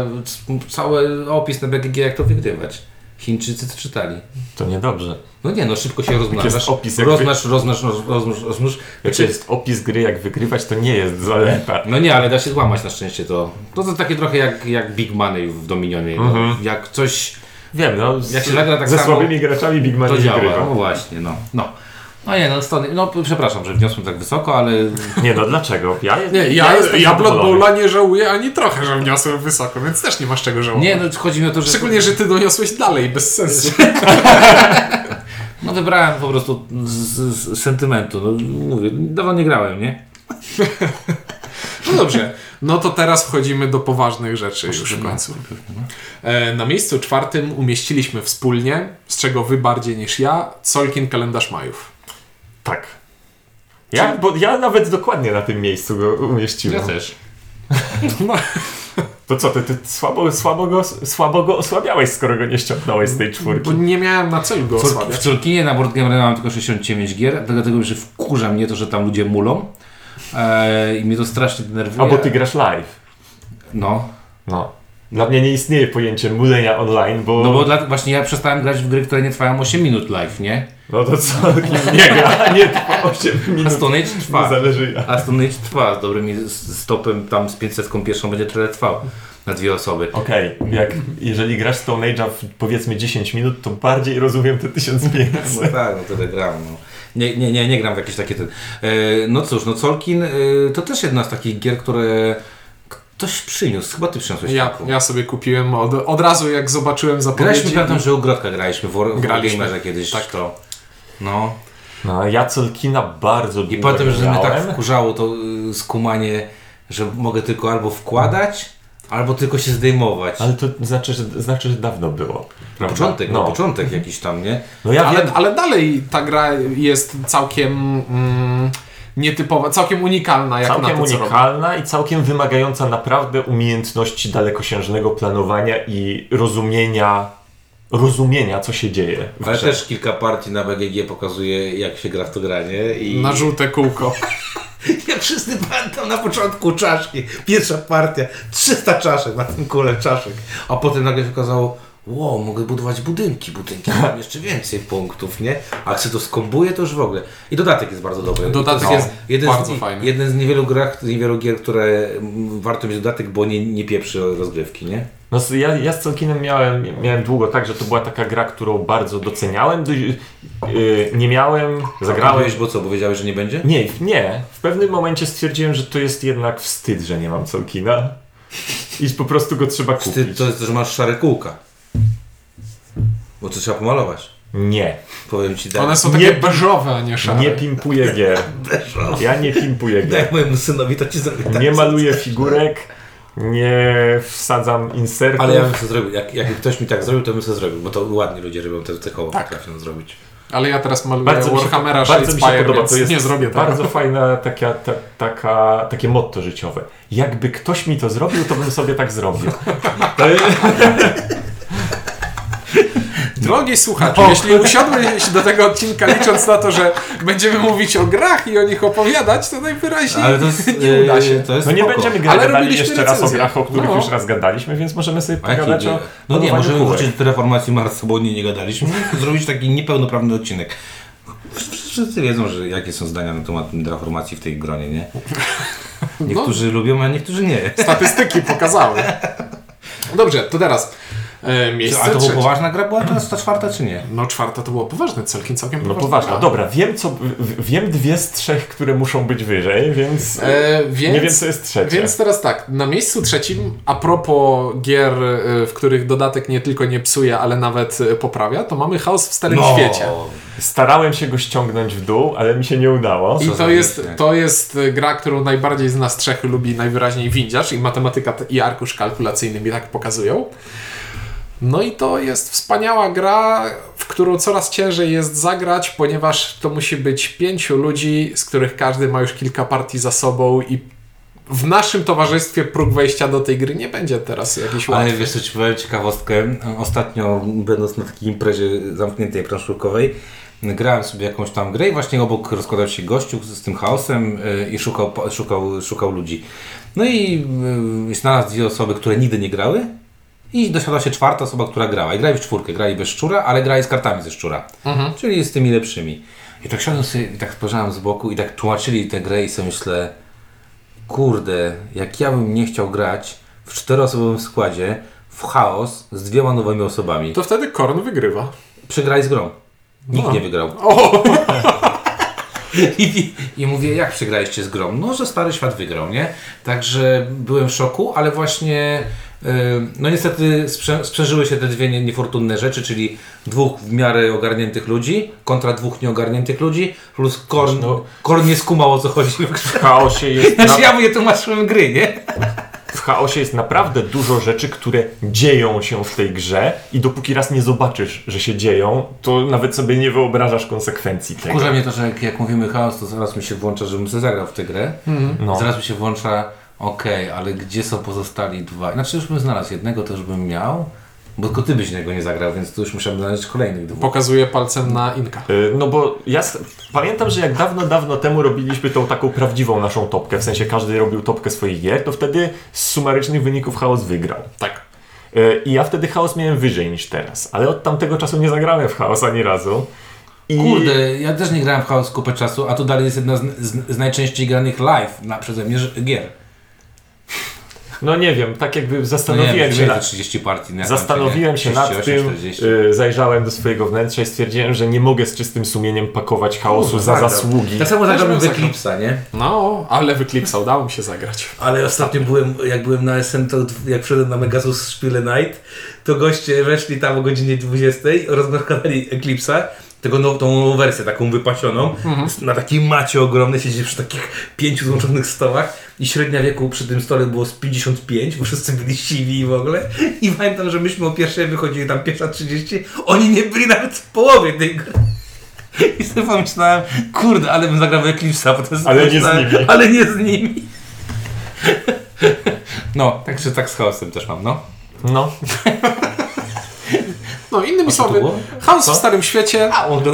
Speaker 1: cały opis na BGG, jak to wygrywać. Chińczycy to czytali.
Speaker 3: To niedobrze.
Speaker 1: No nie, no szybko się rozmnażasz.
Speaker 3: jest opis, jak
Speaker 1: roznasz, roznasz, roznasz, roznasz, roznasz.
Speaker 3: Jak
Speaker 1: Znaczy,
Speaker 3: jest opis gry, jak wygrywać, to nie jest zaleta.
Speaker 1: no nie, ale da się złamać na szczęście to. To to takie trochę jak, jak Big Money w Dominionie. No.
Speaker 3: Mhm.
Speaker 1: Jak coś
Speaker 3: Wiem, no. Z,
Speaker 1: Jak się zagra tak
Speaker 3: ze
Speaker 1: samo,
Speaker 3: słabymi graczami Big Man
Speaker 1: to
Speaker 3: nie
Speaker 1: działa.
Speaker 3: wygrywa.
Speaker 1: No właśnie, no. no. No nie, no, stąd, no przepraszam, że wniosłem tak wysoko, ale
Speaker 3: Nie no, dlaczego? Ja,
Speaker 2: Nie, ja, ja,
Speaker 3: jestem
Speaker 2: Blood
Speaker 3: zadowolony.
Speaker 2: Bowla nie żałuję ani trochę, że wniosłem wysoko, więc też nie masz czego żałować.
Speaker 1: nie, no chodzi mi o to, że
Speaker 2: Szczególnie, że ty doniosłeś dalej, bez sensu.
Speaker 1: no wybrałem po prostu z, z sentymentu, no mówię, dawno nie grałem, nie?
Speaker 2: No dobrze, no to teraz wchodzimy do poważnych rzeczy już w końcu. E, Na miejscu czwartym umieściliśmy wspólnie, z czego wy bardziej niż ja, Solkin Kalendarz Majów.
Speaker 3: Tak. Ja, bo ja nawet dokładnie na tym miejscu go umieściłem.
Speaker 1: Ja też.
Speaker 2: No,
Speaker 3: To co, ty, ty słabo, słabo, go, słabo go osłabiałeś, skoro go nie ściągnąłeś z tej czwórki.
Speaker 2: bo nie miałem na celu go
Speaker 1: Córki, w
Speaker 2: osłabiać.
Speaker 1: Córkinie na Board Game Arena mam tylko 69 gier, dlatego że wkurza mnie to, że tam ludzie mulą e, i mnie to strasznie denerwuje.
Speaker 3: Albo ty grasz live.
Speaker 1: No.
Speaker 3: No. Dla mnie nie istnieje pojęcie mulenia online, bo...
Speaker 1: No bo dla, właśnie ja przestałem grać w gry, które nie trwają 8 minut live, nie?
Speaker 3: No to co, kim nie gra, nie trwa 8
Speaker 1: A
Speaker 3: minut,
Speaker 1: Stone Age
Speaker 3: nie
Speaker 1: trwa.
Speaker 3: zależy jak.
Speaker 1: A Stone Age trwa z dobrymi z- stopem, tam z 500 pierwszą będzie trochę trwał na dwie osoby.
Speaker 3: Okej, jak, jeżeli grasz Stone Age'a w powiedzmy 10 minut, to bardziej rozumiem te 1500.
Speaker 1: No tak, no tyle gram. No. Nie, nie, nie, nie gram w jakieś takie... Te... E, no cóż, no Colkin e, to też jedna z takich gier, które ktoś przyniósł. Chyba ty przyniosłeś
Speaker 2: Ja,
Speaker 1: taką.
Speaker 2: ja sobie kupiłem od, od razu, jak zobaczyłem
Speaker 1: Graliśmy,
Speaker 2: zapowiedzi.
Speaker 1: pamiętam, że u Grotka graliśmy, w, War- w
Speaker 2: Graliśmy.
Speaker 1: Wargamerze kiedyś. Tak to. No.
Speaker 3: No, ja Colkina bardzo
Speaker 1: I
Speaker 3: długo
Speaker 1: potem, że mnie tak
Speaker 3: grałem.
Speaker 1: wkurzało to y, skumanie, że mogę tylko albo wkładać, albo tylko się zdejmować.
Speaker 3: Ale to znaczy, że, znaczy, że dawno było. prawda?
Speaker 1: Początek, no.
Speaker 3: no.
Speaker 1: początek jakiś tam, nie?
Speaker 3: No ja
Speaker 2: ale,
Speaker 3: wiem,
Speaker 2: ale dalej ta gra jest całkiem mm, nietypowa, całkiem unikalna jak na
Speaker 3: całkiem
Speaker 2: to, co robi.
Speaker 3: unikalna i całkiem wymagająca naprawdę umiejętności dalekosiężnego planowania i rozumienia, rozumienia co się dzieje. w
Speaker 1: Ale
Speaker 3: grze.
Speaker 1: też kilka partii na BGG pokazuje, jak się gra w to granie. I
Speaker 2: Na żółte kółko.
Speaker 1: ja wszyscy pamiętam na początku czaszki. Pierwsza partia, 300 czaszek na tym kole czaszek. A potem nagle się okazało, wow, mogę budować budynki, budynki, mam jeszcze więcej punktów, nie? A jak się to skombuje, to już w ogóle. I dodatek jest bardzo dobry.
Speaker 2: Dodatek
Speaker 1: To
Speaker 2: jest bardzo
Speaker 1: z, ni-
Speaker 2: fajny.
Speaker 1: Jeden z niewielu, grach, z niewielu gier, które mm, warto mieć dodatek, bo nie, nie pieprzy rozgrywki, nie?
Speaker 3: No, z- ja, ja z Colkinem miałem, miałem długo tak, że to była taka gra, którą bardzo doceniałem. Dość- Yy, nie miałem, zagrałem,
Speaker 1: Zagrałeś, bo co, bo wiedziałeś, że nie będzie?
Speaker 3: Nie, nie. W pewnym momencie stwierdziłem, że to jest jednak wstyd, że nie mam Colkina. I po prostu go trzeba kupić.
Speaker 1: Ty, to jest, że masz szare kółka. Bo to trzeba pomalować.
Speaker 3: Nie.
Speaker 1: Powiem ci tak.
Speaker 2: One są
Speaker 3: Nie-
Speaker 2: takie beżowe, a nie szare.
Speaker 3: Nie pimpuję gier. Ja nie pimpuję gier.
Speaker 1: Jak mojemu synowi to ci zrobię tak.
Speaker 3: Nie maluję figurek. Nie wsadzam insertów.
Speaker 1: Ale ja bym to zrobił. Jak, jak ktoś mi tak zrobił, to bym to zrobił, bo to ładnie ludzie robią te, te koło tak. potrafią zrobić.
Speaker 2: Ale ja teraz maluję
Speaker 3: Bardzo mi się,
Speaker 2: Warhammera
Speaker 3: bardzo mi się
Speaker 2: Shadespire,
Speaker 3: podoba.
Speaker 2: więc
Speaker 3: To jest
Speaker 2: nie zrobię tego.
Speaker 3: bardzo fajne taka, ta, taka, takie motto życiowe. Jakby ktoś mi to zrobił, to bym sobie tak zrobił. To jest...
Speaker 2: Drogi słuchaczu, jeśli usiadłeś do tego odcinka licząc na to, że będziemy mówić o grach i o nich opowiadać, to najwyraźniej
Speaker 1: Ale to jest, e,
Speaker 2: nie uda się.
Speaker 1: To jest
Speaker 3: No nie
Speaker 1: spoko.
Speaker 3: będziemy
Speaker 2: Ale
Speaker 3: gadali
Speaker 2: robiliśmy
Speaker 3: jeszcze raz o
Speaker 2: recenzję.
Speaker 3: grach, o których
Speaker 2: No.
Speaker 3: już raz gadaliśmy, więc możemy sobie
Speaker 1: A jaki-
Speaker 3: pogadać o
Speaker 1: No nie,
Speaker 3: planowaniu
Speaker 1: możemy
Speaker 3: kółek.
Speaker 1: wrócić do reformacji Marsa, bo o niej nie gadaliśmy. Zrobić taki niepełnoprawny odcinek. Wszyscy wiedzą, że jakie są zdania na temat reformacji w tej gronie, nie? Niektórzy lubią, a niektórzy nie.
Speaker 2: Statystyki pokazały. No Dobrze, to teraz e, miejsce
Speaker 1: A to była
Speaker 2: trzecie.
Speaker 1: poważna gra, była teraz ta czwarta czy nie?
Speaker 2: No czwarta to było poważne, całkiem, całkiem
Speaker 3: No
Speaker 2: poważna
Speaker 3: poważnie.
Speaker 2: gra.
Speaker 3: Dobra, wiem co, w- wiem dwie z trzech, które muszą być wyżej, więc
Speaker 2: E, więc,
Speaker 3: nie wiem co jest trzecie.
Speaker 2: Więc teraz tak, na miejscu trzecim, a propos gier, e, w których dodatek nie tylko nie psuje, ale nawet e, poprawia, to mamy Chaos w Starym
Speaker 3: No.
Speaker 1: No.
Speaker 2: Świecie.
Speaker 3: Starałem się go ściągnąć w dół, ale mi się nie udało.
Speaker 2: I
Speaker 1: Co
Speaker 2: to
Speaker 1: za
Speaker 2: jest,
Speaker 1: wiecznie.
Speaker 2: to jest y, gra, którą najbardziej z nas trzech lubi najwyraźniej windziarz i matematyka t- i arkusz kalkulacyjny mi tak pokazują. No i to jest wspaniała gra, w którą coraz ciężej jest zagrać, ponieważ to musi być pięciu ludzi, z których każdy ma już kilka partii za sobą i w naszym towarzystwie próg wejścia do tej gry nie będzie teraz jakiś
Speaker 1: Ale
Speaker 2: łatwy.
Speaker 1: wiesz co, ci powiem ciekawostkę. Ostatnio, będąc na takiej imprezie zamkniętej planszówkowej, grałem sobie jakąś tam grę i właśnie obok rozkładał się gościu z tym chaosem y, i szukał, po- szukał, szukał ludzi. No i y, znalazł dwie osoby, które nigdy nie grały i dosiadła się czwarta osoba, która grała. I grali w czwórkę, grali bez szczura, ale grali z kartami ze szczura.
Speaker 2: Mhm.
Speaker 1: Czyli z tymi lepszymi. I tak siadłem sobie i tak spojrzałem z boku i tak tłumaczyli tę grę i sobie myślę kurde, jak ja bym nie chciał grać w czteroosobowym składzie w chaos z dwiema nowymi osobami. To
Speaker 2: To wtedy Korn wygrywa.
Speaker 1: przegrali z grą. Nikt
Speaker 2: No.
Speaker 1: nie wygrał.
Speaker 2: O!
Speaker 1: I, I mówię, jak przegraliście z grą? No, że Stary Świat wygrał, nie? Także byłem w szoku, ale właśnie yy, no niestety sprze- sprzężyły się te dwie nie- niefortunne rzeczy, czyli dwóch w miarę ogarniętych ludzi kontra dwóch nieogarniętych ludzi plus Korn,
Speaker 3: No.
Speaker 1: Korn nie skumał o co chodzi w grze.
Speaker 3: W chaosie,
Speaker 2: No.
Speaker 3: jest na...
Speaker 1: Znaczy ja mu je tłumaczyłem gry, nie?
Speaker 3: w chaosie jest naprawdę dużo rzeczy, które dzieją się w tej grze i dopóki raz nie zobaczysz, że się dzieją, to nawet sobie nie wyobrażasz konsekwencji tego.
Speaker 1: Kurza mnie to, że jak, jak mówimy chaos, to zaraz mi się włącza, żebym sobie zagrał w tę grę.
Speaker 3: No.
Speaker 1: Zaraz mi się włącza, okej, ale gdzie są pozostali dwa? Znaczy już bym znalazł jednego, to już bym miał, bo tylko ty byś niego nie zagrał, więc tu już musiałem znaleźć kolejnych dwóch.
Speaker 2: Pokazuje palcem na Inka.
Speaker 3: Y, No bo ja s- pamiętam, że jak dawno, dawno temu robiliśmy tą taką prawdziwą naszą topkę, w sensie każdy robił topkę swoich gier, to wtedy z sumarycznych wyników chaos wygrał.
Speaker 2: Tak.
Speaker 3: E, I ja wtedy chaos miałem wyżej niż teraz, ale od tamtego czasu nie zagrałem w chaos ani razu. I...
Speaker 1: Kurde, ja też nie grałem w Chaos kupę czasu, a to dalej jest jedna z, z, z najczęściej granych live na, przeze mnie ż- gier.
Speaker 3: No nie wiem, tak jakby
Speaker 1: No nie,
Speaker 3: zastanowiłem
Speaker 1: wiem,
Speaker 3: się
Speaker 1: się
Speaker 3: na,
Speaker 1: 30 partii. na
Speaker 3: Zastanowiłem się
Speaker 1: koncie, nie?
Speaker 3: nad
Speaker 1: 38,
Speaker 3: tym,
Speaker 1: 40.
Speaker 3: y, zajrzałem do swojego wnętrza i stwierdziłem, że nie mogę z czystym sumieniem pakować chaosu za
Speaker 4: zagrał.
Speaker 3: zasługi.
Speaker 1: Tak samo
Speaker 2: Też
Speaker 1: zagrałem
Speaker 2: bym
Speaker 1: w
Speaker 2: zagrał.
Speaker 1: Eclipse'a, nie?
Speaker 2: No, ale wykliksał, dało mi się zagrać.
Speaker 1: Ale ostatnio byłem, jak byłem na SN, to jak wszedłem na Megasus Spiele Night, to goście weszli tam o godzinie 20, rozmawiali Eclipse'a, tego now, tą nową wersję, taką wypasioną,
Speaker 3: Mhm.
Speaker 1: z- na takiej macie ogromnej, siedzieli przy takich pięciu złączonych stołach i średnia wieku przy tym stole było z 55, bo wszyscy byli siwi i w ogóle. I pamiętam, że myśmy o pierwszej wychodzili tam pierwsza 30, oni nie byli nawet w połowie tej gry. I sobie pomyślałem, kurde, ale bym zagrał w Eclipse'a, bo to jest
Speaker 3: Ale nie z
Speaker 1: pomyślałem,
Speaker 3: nimi.
Speaker 1: Ale nie z nimi. No, także tak z chaosem też mam, no.
Speaker 3: No,
Speaker 2: No, innymi słowy,
Speaker 1: było?
Speaker 2: Chaos
Speaker 3: Co?
Speaker 2: w Starym Świecie,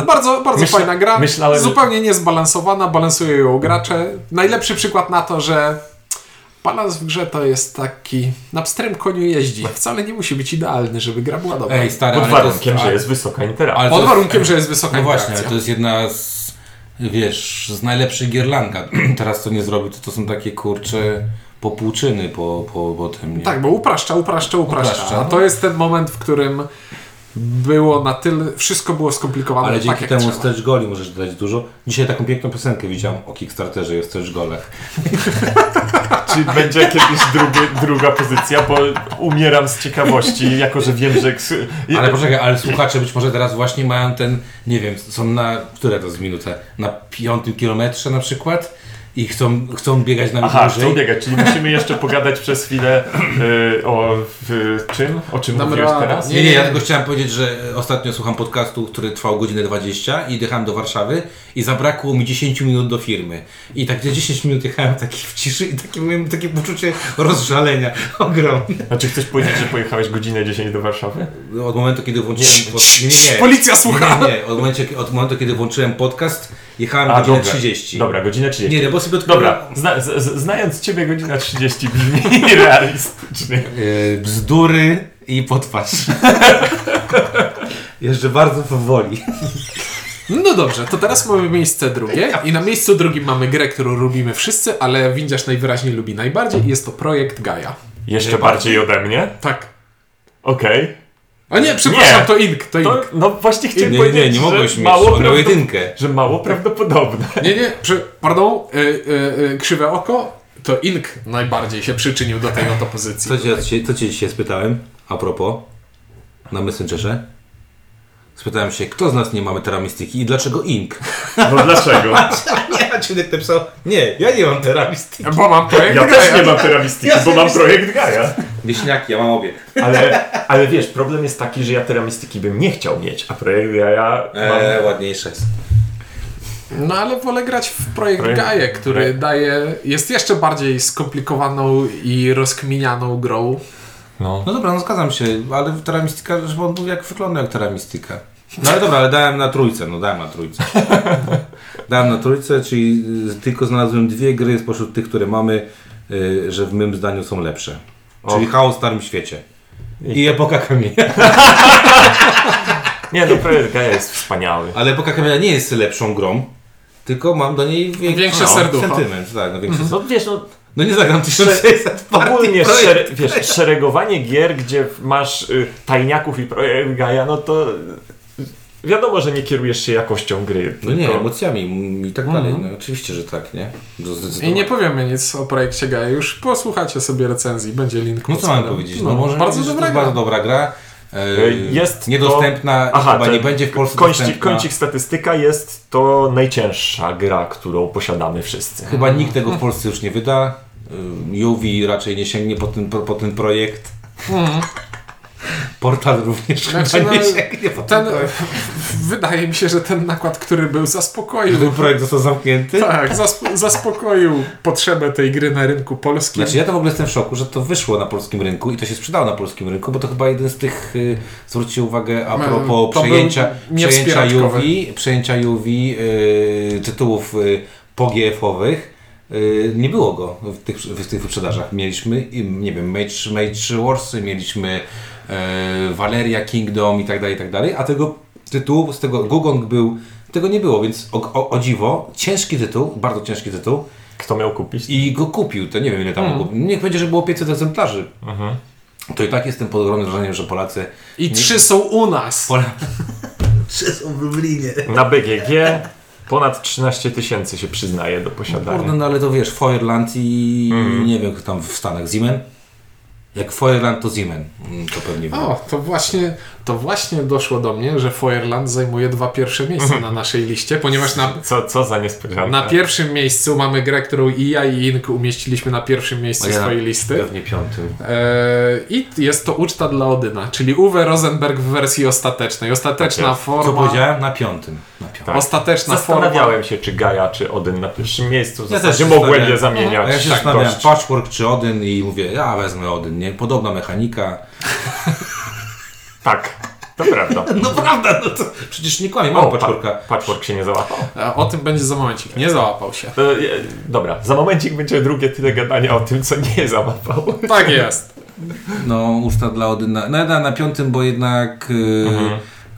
Speaker 2: bardzo, bardzo
Speaker 3: Myśla-
Speaker 2: fajna gra,
Speaker 3: myślałem, że-
Speaker 2: zupełnie niezbalansowana, balansują ją gracze. Najlepszy przykład na to, że balans w grze to jest taki, na pstrym koniu jeździ. Wcale nie musi być idealny, żeby gra była dobra.
Speaker 1: Ej, stary,
Speaker 3: pod
Speaker 1: ale to jest,
Speaker 3: warunkiem, że
Speaker 1: ale-
Speaker 3: jest wysoka interakcja.
Speaker 1: ale to
Speaker 2: Pod
Speaker 1: jest-
Speaker 2: warunkiem, że jest wysoka
Speaker 1: No właśnie,
Speaker 2: interakcja.
Speaker 1: ale to jest jedna z, wiesz, z najlepszych gierlanka. Teraz co nie zrobi, to to są takie kurcze popłuczyny po, po, po tym, nie?
Speaker 2: Tak, bo upraszcza, upraszcza, upraszcza.
Speaker 1: Upraszcza,
Speaker 2: A
Speaker 1: no.
Speaker 2: to jest ten moment, w którym było na tyle, wszystko było skomplikowane
Speaker 1: Ale
Speaker 2: tak
Speaker 1: dzięki
Speaker 2: jak
Speaker 1: temu
Speaker 2: trzeba.
Speaker 1: z też goli możesz dodać dużo. Dzisiaj taką piękną piosenkę widziałem o Kickstarterze, jest też golech.
Speaker 3: Czy będzie kiedyś drugi, druga pozycja, bo umieram z ciekawości, jako że wiem, że... ks-
Speaker 1: Ale poczekaj, ale słuchacze być może teraz właśnie mają ten, nie wiem, są na, które to jest minutę? Na piątym kilometrze na przykład i chcą, chcą biegać na
Speaker 3: Aha,
Speaker 1: dłużej.
Speaker 3: chcą biegać, czyli musimy jeszcze pogadać przez chwilę y, o w, czym? O czym
Speaker 2: Dam
Speaker 3: mówiłeś
Speaker 2: radę.
Speaker 3: teraz?
Speaker 1: Nie, nie, ja tylko chciałem powiedzieć, że e, ostatnio słucham podcastu, który trwał godzinę 20 i dycham do Warszawy i zabrakło mi 10 minut do firmy. I tak te 10 minut jechałem taki w ciszy i takie, miałem takie poczucie rozżalenia ogromne.
Speaker 3: Znaczy chcesz powiedzieć, że pojechałeś godzinę 10 do Warszawy?
Speaker 1: Od momentu, kiedy włączyłem... Pod... Nie, nie, nie.
Speaker 2: Policja słucha!
Speaker 1: Nie, nie, nie. Od, momencie, od momentu, kiedy włączyłem podcast, jechałem
Speaker 3: A,
Speaker 1: godzinę
Speaker 3: dobra.
Speaker 1: 30.
Speaker 3: Dobra, godzina 30.
Speaker 1: Nie, no bo sobie odkryłem...
Speaker 3: Dobra, zna, z, z, znając ciebie godzina 30 brzmi realistycznie.
Speaker 1: Yy, bzdury i potwarz. Jeszcze bardzo powoli.
Speaker 2: No dobrze, to teraz mamy miejsce drugie i na miejscu drugim mamy grę, którą lubimy wszyscy, ale Windziarz najwyraźniej lubi najbardziej i jest to projekt Gaia.
Speaker 3: Jeszcze bardziej ode mnie?
Speaker 2: Tak.
Speaker 3: Okej.
Speaker 2: A nie, przepraszam, to Ink, to Ink.
Speaker 3: To, no właśnie
Speaker 1: Nie,
Speaker 3: chciałem
Speaker 1: nie,
Speaker 3: powiedzieć,
Speaker 1: nie, nie mogłeś
Speaker 3: że,
Speaker 1: mieć.
Speaker 3: mało
Speaker 1: On miał
Speaker 3: prawdo-
Speaker 1: jedynkę.
Speaker 3: że mało prawdopodobne.
Speaker 2: Nie, nie, prze, pardon, y, y, y, krzywe oko, to Ink najbardziej się przyczynił do tej oto pozycji.
Speaker 1: Co cię, co cię dzisiaj spytałem? A propos, na Messengerze. Spytałem się, kto z nas nie mamy teramistyki i dlaczego ink?
Speaker 3: No dlaczego?
Speaker 1: nie, a Ciunek napisał, nie, ja nie mam teramistyki.
Speaker 2: Bo mam projekt
Speaker 3: Ja
Speaker 2: Gaia.
Speaker 3: też nie mam teramistyki,
Speaker 1: Ja
Speaker 3: bo mam
Speaker 1: sobie-
Speaker 3: projekt Gaia.
Speaker 1: Wieśniaki, ja mam obie.
Speaker 3: Ale, ale wiesz, problem jest taki, że ja teramistyki bym nie chciał mieć, a projekt Gaia mam...
Speaker 1: Eee, ładniejsze jest.
Speaker 2: No ale wolę grać w projekt,
Speaker 3: Projekt-
Speaker 2: Gaia, który
Speaker 3: projekt-
Speaker 2: daje, jest jeszcze bardziej skomplikowaną i rozkminianą grą.
Speaker 1: No dobra, no zgadzam się, ale teramistyka, żeby on był jak wygląda jak teramistyka. No ale dobra, ale dałem na trójce, no dałem na trójce. dałem na trójce, czyli y, tylko znalazłem dwie gry spośród tych, które mamy, y, że w mym zdaniu są lepsze. Czyli Chaos w Starym Świecie. I Epoka Kamienia.
Speaker 3: Nie, no projekt Gaia jest wspaniały.
Speaker 1: Ale Epoka Kamienia nie jest lepszą grą, tylko mam do niej większy
Speaker 2: Większe
Speaker 1: no,
Speaker 2: serducho. Mhm.
Speaker 1: sentyment. Tak, no, większy
Speaker 3: No wiesz, no
Speaker 1: no nie zagram 1600 partii.
Speaker 3: ogólnie
Speaker 1: projekt.
Speaker 3: szere, wiesz, szeregowanie gier, gdzie masz y, tajniaków i projekt Gaia, no to y, wiadomo, że nie kierujesz się jakością gry.
Speaker 1: No nie,
Speaker 3: tylko-
Speaker 1: emocjami mm, i tak dalej. No oczywiście, że tak, nie?
Speaker 2: Mhm. I
Speaker 1: Zdecydowanie. No,
Speaker 2: nie powiemy nic o projekcie Gaia, już posłuchajcie sobie recenzji, będzie link.
Speaker 1: No
Speaker 2: pod
Speaker 1: co mam
Speaker 2: spodem.
Speaker 1: powiedzieć? No, może
Speaker 2: bardzo
Speaker 1: powiedzieć, że
Speaker 2: dobra
Speaker 1: to
Speaker 2: gra.
Speaker 1: bardzo dobra gra. E,
Speaker 3: Jest
Speaker 1: niedostępna,
Speaker 3: to- Aha,
Speaker 1: chyba nie
Speaker 3: ten
Speaker 1: będzie w Polsce
Speaker 3: Kącik,
Speaker 1: dostępna.
Speaker 3: kącik statystyka jest to najcięższa gra, którą posiadamy wszyscy.
Speaker 1: Chyba nikt tego w Polsce już nie wyda. E, Juwi raczej nie sięgnie po ten, po, po ten projekt. Portal również
Speaker 2: Mhm. Znaczy,
Speaker 1: chyba nie
Speaker 2: no,
Speaker 1: sięgnie po ten,
Speaker 2: Ten,
Speaker 1: projekt.
Speaker 2: wydaje mi się, że ten nakład, który był,
Speaker 1: Że
Speaker 2: zaspokoił.
Speaker 1: ten projekt został zamknięty.
Speaker 2: Tak, zasp- zaspokoił potrzebę tej gry na rynku polskim.
Speaker 1: Znaczy ja to w ogóle jestem w szoku, że to wyszło na polskim rynku i to się sprzedało na polskim rynku, bo to chyba jeden z tych, y, zwróćcie uwagę, a
Speaker 2: Mm,
Speaker 1: propos
Speaker 2: to był
Speaker 1: przejęcia, przejęcia
Speaker 2: niewspieraczkowy.
Speaker 1: UV, przejęcia UV y, tytułów y, PGF-owych y, nie było go w tych, w tych wyprzedażach. Mieliśmy, i, nie wiem, Mage, Mage Warsy, mieliśmy y, Valeria Kingdom i tak dalej, i tak dalej, a tego tytułu, z tego Gugong był, tego nie było, więc o, o, o dziwo, ciężki tytuł, bardzo ciężki tytuł
Speaker 3: Kto miał kupić?
Speaker 1: i go kupił, to nie wiem ile tam
Speaker 3: Hmm.
Speaker 1: kupił. Niech będzie, że było 500 egzemplarzy.
Speaker 3: Mhm.
Speaker 1: To i tak jestem pod ogromnym wrażeniem, że Polacy...
Speaker 2: I trzy są u nas.
Speaker 1: Pola... Trzy są w Lublinie.
Speaker 3: Na BGG ponad 13 tysięcy się przyznaje do
Speaker 1: Kurde,
Speaker 3: posiadania.
Speaker 1: no ale to wiesz, Feuerland i
Speaker 3: Hmm.
Speaker 1: nie wiem, kto tam w Stanach, Siemens. Jak Feuerland to Siemens, Mm, to pewnie było.
Speaker 2: O, to właśnie, to właśnie doszło do mnie, że Feuerland zajmuje dwa pierwsze
Speaker 1: Mhm.
Speaker 2: miejsca na naszej liście, ponieważ na,
Speaker 3: Co, co za
Speaker 1: Tak.
Speaker 3: niespodzianka.
Speaker 2: na pierwszym miejscu mamy grę, którą i ja i Ink umieściliśmy na pierwszym miejscu
Speaker 1: No Ja na-
Speaker 2: swojej listy.
Speaker 1: Pewnie piątym.
Speaker 2: Eee, I jest to uczta dla Odyna, czyli Uwe Rosenberg w wersji ostatecznej. Ostateczna
Speaker 3: Tak jest.
Speaker 1: Co
Speaker 2: forma.
Speaker 1: powiedziałem? Na piątym. Na piątym.
Speaker 3: Tak.
Speaker 2: Ostateczna forma.
Speaker 3: Zastanawiałem się, czy Gaja, czy Odyn na pierwszym miejscu. W
Speaker 1: Ja też
Speaker 3: zasadzie
Speaker 1: się
Speaker 3: znaczy, mogłem je
Speaker 1: zastanawiałem.
Speaker 3: zamieniać.
Speaker 1: A ja się
Speaker 3: tak
Speaker 1: zastanawiałem,
Speaker 3: dość.
Speaker 1: Patchwork czy Odyn i mówię, ja wezmę Odyn, nie? Podobna mechanika.
Speaker 3: Tak, to prawda.
Speaker 1: No prawda, no to przecież nie kłamie, mam
Speaker 3: O, patchworka.
Speaker 1: Patchworka.
Speaker 3: Patchwork się nie załapał.
Speaker 2: E, O tym będzie za momencik. Nie załapał się.
Speaker 3: E, e, dobra, za momencik będzie drugie tyle gadania o tym, co nie załapał.
Speaker 2: Tak jest.
Speaker 1: No, usta dla Odyna. No na, na piątym, bo jednak yy,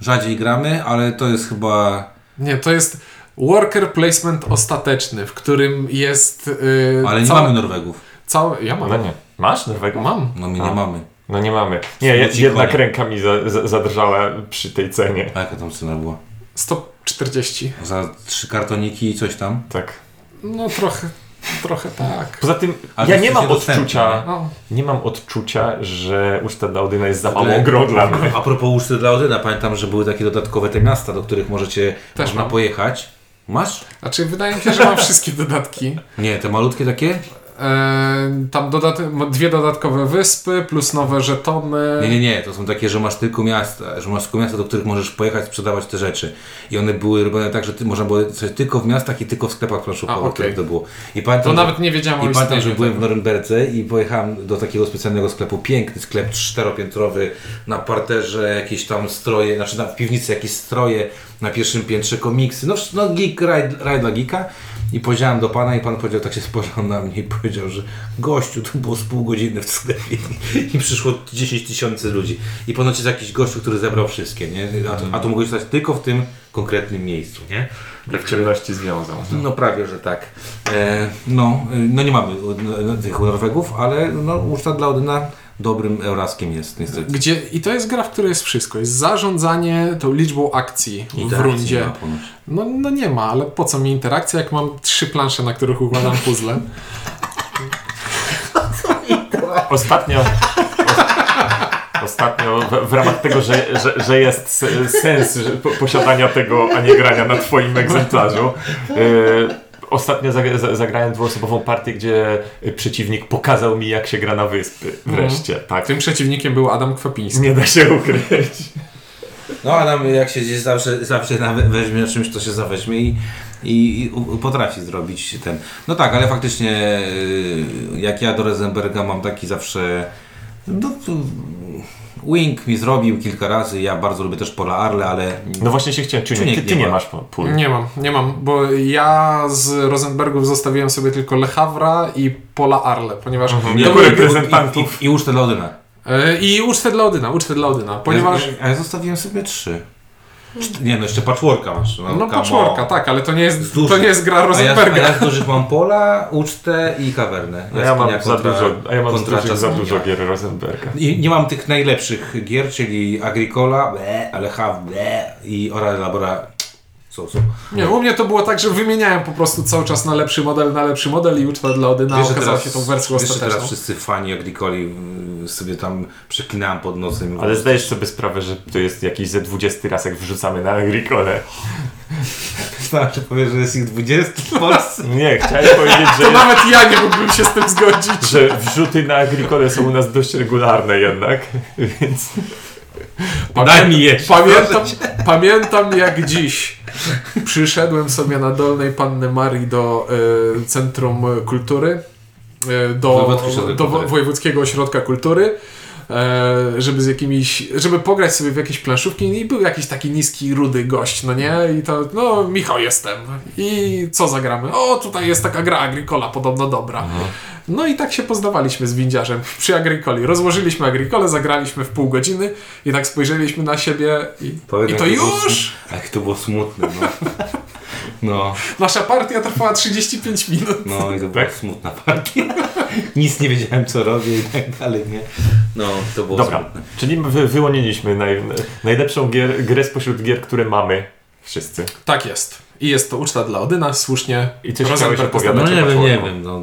Speaker 1: rzadziej gramy, ale to jest chyba...
Speaker 2: Nie, to jest worker placement ostateczny, w którym jest. Yy,
Speaker 1: Ale nie
Speaker 2: cała-
Speaker 1: mamy Norwegów.
Speaker 2: Cała... Ja mam.
Speaker 3: No nie. Masz Norwegów?
Speaker 2: Mam.
Speaker 1: No my nie
Speaker 3: A.
Speaker 1: mamy.
Speaker 3: No nie mamy. Nie,
Speaker 1: Smutny
Speaker 3: jednak
Speaker 1: konie.
Speaker 3: ręka mi za, za, zadrżała przy tej cenie.
Speaker 1: A jaka tam cena była?
Speaker 2: 140.
Speaker 1: Za trzy kartoniki i coś tam.
Speaker 3: Tak.
Speaker 2: No trochę, trochę tak.
Speaker 3: Poza tym,
Speaker 1: Ale
Speaker 3: ja
Speaker 1: to
Speaker 3: nie
Speaker 1: jest
Speaker 3: mam
Speaker 1: dostępne,
Speaker 3: odczucia,
Speaker 2: No.
Speaker 3: nie mam odczucia, że uczta dla Odyna jest za
Speaker 1: Ale-
Speaker 3: mało gro dla mnie.
Speaker 1: A propos uczty dla Odyna, pamiętam, że były takie dodatkowe te miasta, do których możecie,
Speaker 2: Też
Speaker 1: można
Speaker 2: mam.
Speaker 1: pojechać. Masz?
Speaker 2: Znaczy, wydaje mi się, że mam wszystkie dodatki.
Speaker 1: Nie, te malutkie takie?
Speaker 2: Eee, tam dodat dwie dodatkowe wyspy, plus nowe żetony.
Speaker 1: Nie, nie, nie, to są takie, że masz tylko miasta, że masz tylko miasta, do których możesz pojechać, sprzedawać te rzeczy. I one były robione tak, że ty, można było coś tylko w miastach i tylko w sklepach planszowych,
Speaker 2: A, okej.
Speaker 1: których to było. I pamiętam,
Speaker 2: To
Speaker 1: że-
Speaker 2: nawet nie wiedziałem o
Speaker 1: I pamiętam, że
Speaker 2: istnieniu
Speaker 1: byłem w Norymberdze i pojechałem do takiego specjalnego sklepu, piękny sklep czteropiętrowy, na parterze jakieś tam stroje, znaczy na, w piwnicy jakieś stroje, na pierwszym piętrze komiksy, no, wsz- no geek, raj, raj dla geeka. I powiedziałem do pana i pan powiedział, tak się spojrzał na mnie i powiedział, że gościu, tu było z pół godziny w sklepie i przyszło 10 tysięcy ludzi. I ponoć jest jakiś gościu, który zebrał wszystkie, nie? A to, a to mogłeś stać tylko w tym konkretnym miejscu, nie?
Speaker 3: Jak ciemności związał.
Speaker 1: No prawie, że tak. E, no, y, no nie mamy y, y, tych Norwegów, ale no, uczta dla Odyna dobrym euraskiem jest niestety.
Speaker 2: Gdzie, I to jest gra, w której jest wszystko. Jest zarządzanie tą liczbą akcji w
Speaker 1: Interakcji
Speaker 2: rundzie.
Speaker 1: nie ma ponoć.
Speaker 2: No, no nie ma, ale po co mi interakcja, jak mam trzy plansze, na których układam puzzle.
Speaker 3: Ostatnio. Ostatnio w, w ramach tego, że, że, że jest s- sens że po- posiadania tego, a nie grania na Twoim egzemplarzu. Yy, ostatnio zagra- za- zagrałem dwuosobową partię, gdzie przeciwnik pokazał mi, jak się gra na wyspy. Wreszcie, tak.
Speaker 2: Tym przeciwnikiem był Adam Kwapiński.
Speaker 3: Nie da się ukryć.
Speaker 1: No a nam jak się gdzieś zawsze, zawsze na- weźmie na czymś, to się zaweźmie i, i, i u- potrafi zrobić ten. No tak, ale faktycznie y, jak ja do Rezenberga mam taki zawsze. No, tu- Wing mi zrobił kilka razy, ja bardzo lubię też Pola Arle, ale
Speaker 3: No właśnie się chciałem, czy nie, ty,
Speaker 1: Czujnik
Speaker 3: ty
Speaker 1: nie
Speaker 3: nie
Speaker 1: ma.
Speaker 3: masz pu- pól.
Speaker 2: Nie mam, nie mam, bo ja z Rosenbergów zostawiłem sobie tylko Le Havre i Pola Arle, ponieważ...
Speaker 3: Nie
Speaker 2: to
Speaker 1: i-
Speaker 3: było
Speaker 2: były-
Speaker 3: reprezentantów.
Speaker 1: I, i, i ucztę dla Odyna.
Speaker 2: E, I ucztę dla Odyna, ucztę dla Odyna, ponieważ...
Speaker 1: A ja, a ja zostawiłem sobie trzy. Czt- Nie no, jeszcze patchworka masz.
Speaker 2: No
Speaker 1: come on.
Speaker 2: patchworka, tak, ale to nie
Speaker 1: Z
Speaker 2: jest,
Speaker 1: dużych.
Speaker 2: to nie jest gra
Speaker 1: A ja, a
Speaker 2: Rosenberga.
Speaker 1: ja z dużych mam pola, ucztę i kawernę.
Speaker 3: A No, ja mam
Speaker 1: Jaskinia
Speaker 3: za
Speaker 1: kontra-
Speaker 3: dużo, a ja mam
Speaker 1: kontra
Speaker 3: za, za
Speaker 1: Jaskinia.
Speaker 3: dużo gier Rosenberga.
Speaker 1: I nie mam tych najlepszych gier, czyli Agricola, ble, ale Hav, ble, i Ora Labora. So, so.
Speaker 2: Nie, u mnie to było tak, że wymieniałem po prostu cały czas na lepszy model, na lepszy model i uczta dla
Speaker 3: No,
Speaker 2: Odyna
Speaker 1: Wiesz, że
Speaker 2: okazała się tą wersją
Speaker 1: wiesz, że teraz
Speaker 2: ostateczną.
Speaker 1: wszyscy fani Agricoli mm, sobie tam przeklinałem pod nosem.
Speaker 2: No.
Speaker 3: Ale zdajesz sobie sprawę, że to jest jakiś ze 20 raz, jak wrzucamy na Agricole.
Speaker 1: Myślałem, że Znaczy, powiesz, że jest ich 20 w Polsce.
Speaker 3: Nie, chciałem powiedzieć, że,
Speaker 2: To nawet ja nie mógłbym się z tym zgodzić.
Speaker 3: że wrzuty na Agricole są u nas dość regularne jednak, więc...
Speaker 1: Daj mi jeść.
Speaker 2: Pamiętam, pamiętam jak dziś. Przyszedłem sobie na Dolnej Panny Marii do e, Centrum Kultury, e, do,
Speaker 1: Wojewódzki Ośrodek
Speaker 2: do wo-
Speaker 1: Kultury.
Speaker 2: Wojewódzkiego Ośrodka Kultury. e, żeby z jakimiś, żeby pograć sobie w jakieś planszówki i był jakiś taki niski, rudy gość, no nie? I to, no Michał jestem. I co zagramy? O, tutaj jest taka gra Agricola, podobno dobra. No i tak się poznawaliśmy z windziarzem przy Agricoli. Rozłożyliśmy Agricolę, zagraliśmy w pół godziny i tak spojrzeliśmy na siebie i, i
Speaker 1: Powiem,
Speaker 2: to
Speaker 1: jak było
Speaker 2: już!
Speaker 1: smu- Jak to było smutne, no. No,
Speaker 2: Nasza partia trwała 35 minut.
Speaker 1: no i to
Speaker 3: Tak?
Speaker 1: była smutna partia. Nic nie wiedziałem, co robię i tak dalej, nie? No, to było
Speaker 3: Dobra,
Speaker 1: smutne.
Speaker 3: czyli wy, wyłoniliśmy naj, najlepszą gier, grę spośród gier, które mamy wszyscy.
Speaker 2: Tak jest. I jest to uczta dla Odyna, słusznie.
Speaker 3: I ty
Speaker 2: Rosenberg
Speaker 3: chciałeś opowiadać?
Speaker 1: No nie
Speaker 3: Dlaczego
Speaker 1: wiem, nie
Speaker 3: poszło?
Speaker 1: wiem. No,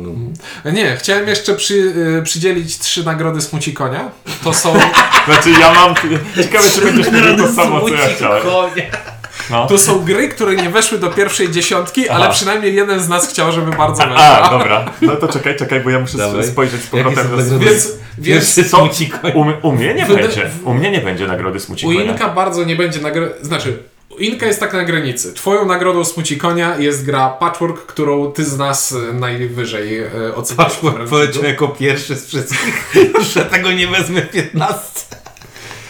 Speaker 1: no.
Speaker 2: Nie, chciałem jeszcze przy, y, przydzielić trzy nagrody Smuci Konia. To są,
Speaker 3: Znaczy ja mam... Ciekawe, czy będziesz mówił to samo, co ja chciałem. No.
Speaker 2: to są gry, które nie weszły do pierwszej dziesiątki, ale
Speaker 3: Aha.
Speaker 2: przynajmniej jeden z nas chciał, żeby bardzo
Speaker 3: A,
Speaker 2: weszła.
Speaker 3: dobra. No to czekaj, czekaj, bo ja muszę
Speaker 1: Dawaj.
Speaker 3: spojrzeć z
Speaker 1: Jakie
Speaker 3: powrotem.
Speaker 1: są
Speaker 2: tak
Speaker 3: na-
Speaker 1: nagrody?
Speaker 2: Więc, więc
Speaker 1: Pierwszy smuci koń.
Speaker 3: U, u mnie nie
Speaker 2: Wyda-
Speaker 3: będzie. U mnie nie będzie nagrody smuci
Speaker 2: u
Speaker 3: konia.
Speaker 2: Inka bardzo nie będzie nagrody... Znaczy, u Inka jest tak na granicy. Twoją nagrodą Smuci Konia jest gra Patchwork, którą ty z nas y, najwyżej y, oceniasz.
Speaker 1: Paszport poleciał jako pierwszy z wszystkich, że tego nie wezmę w 15.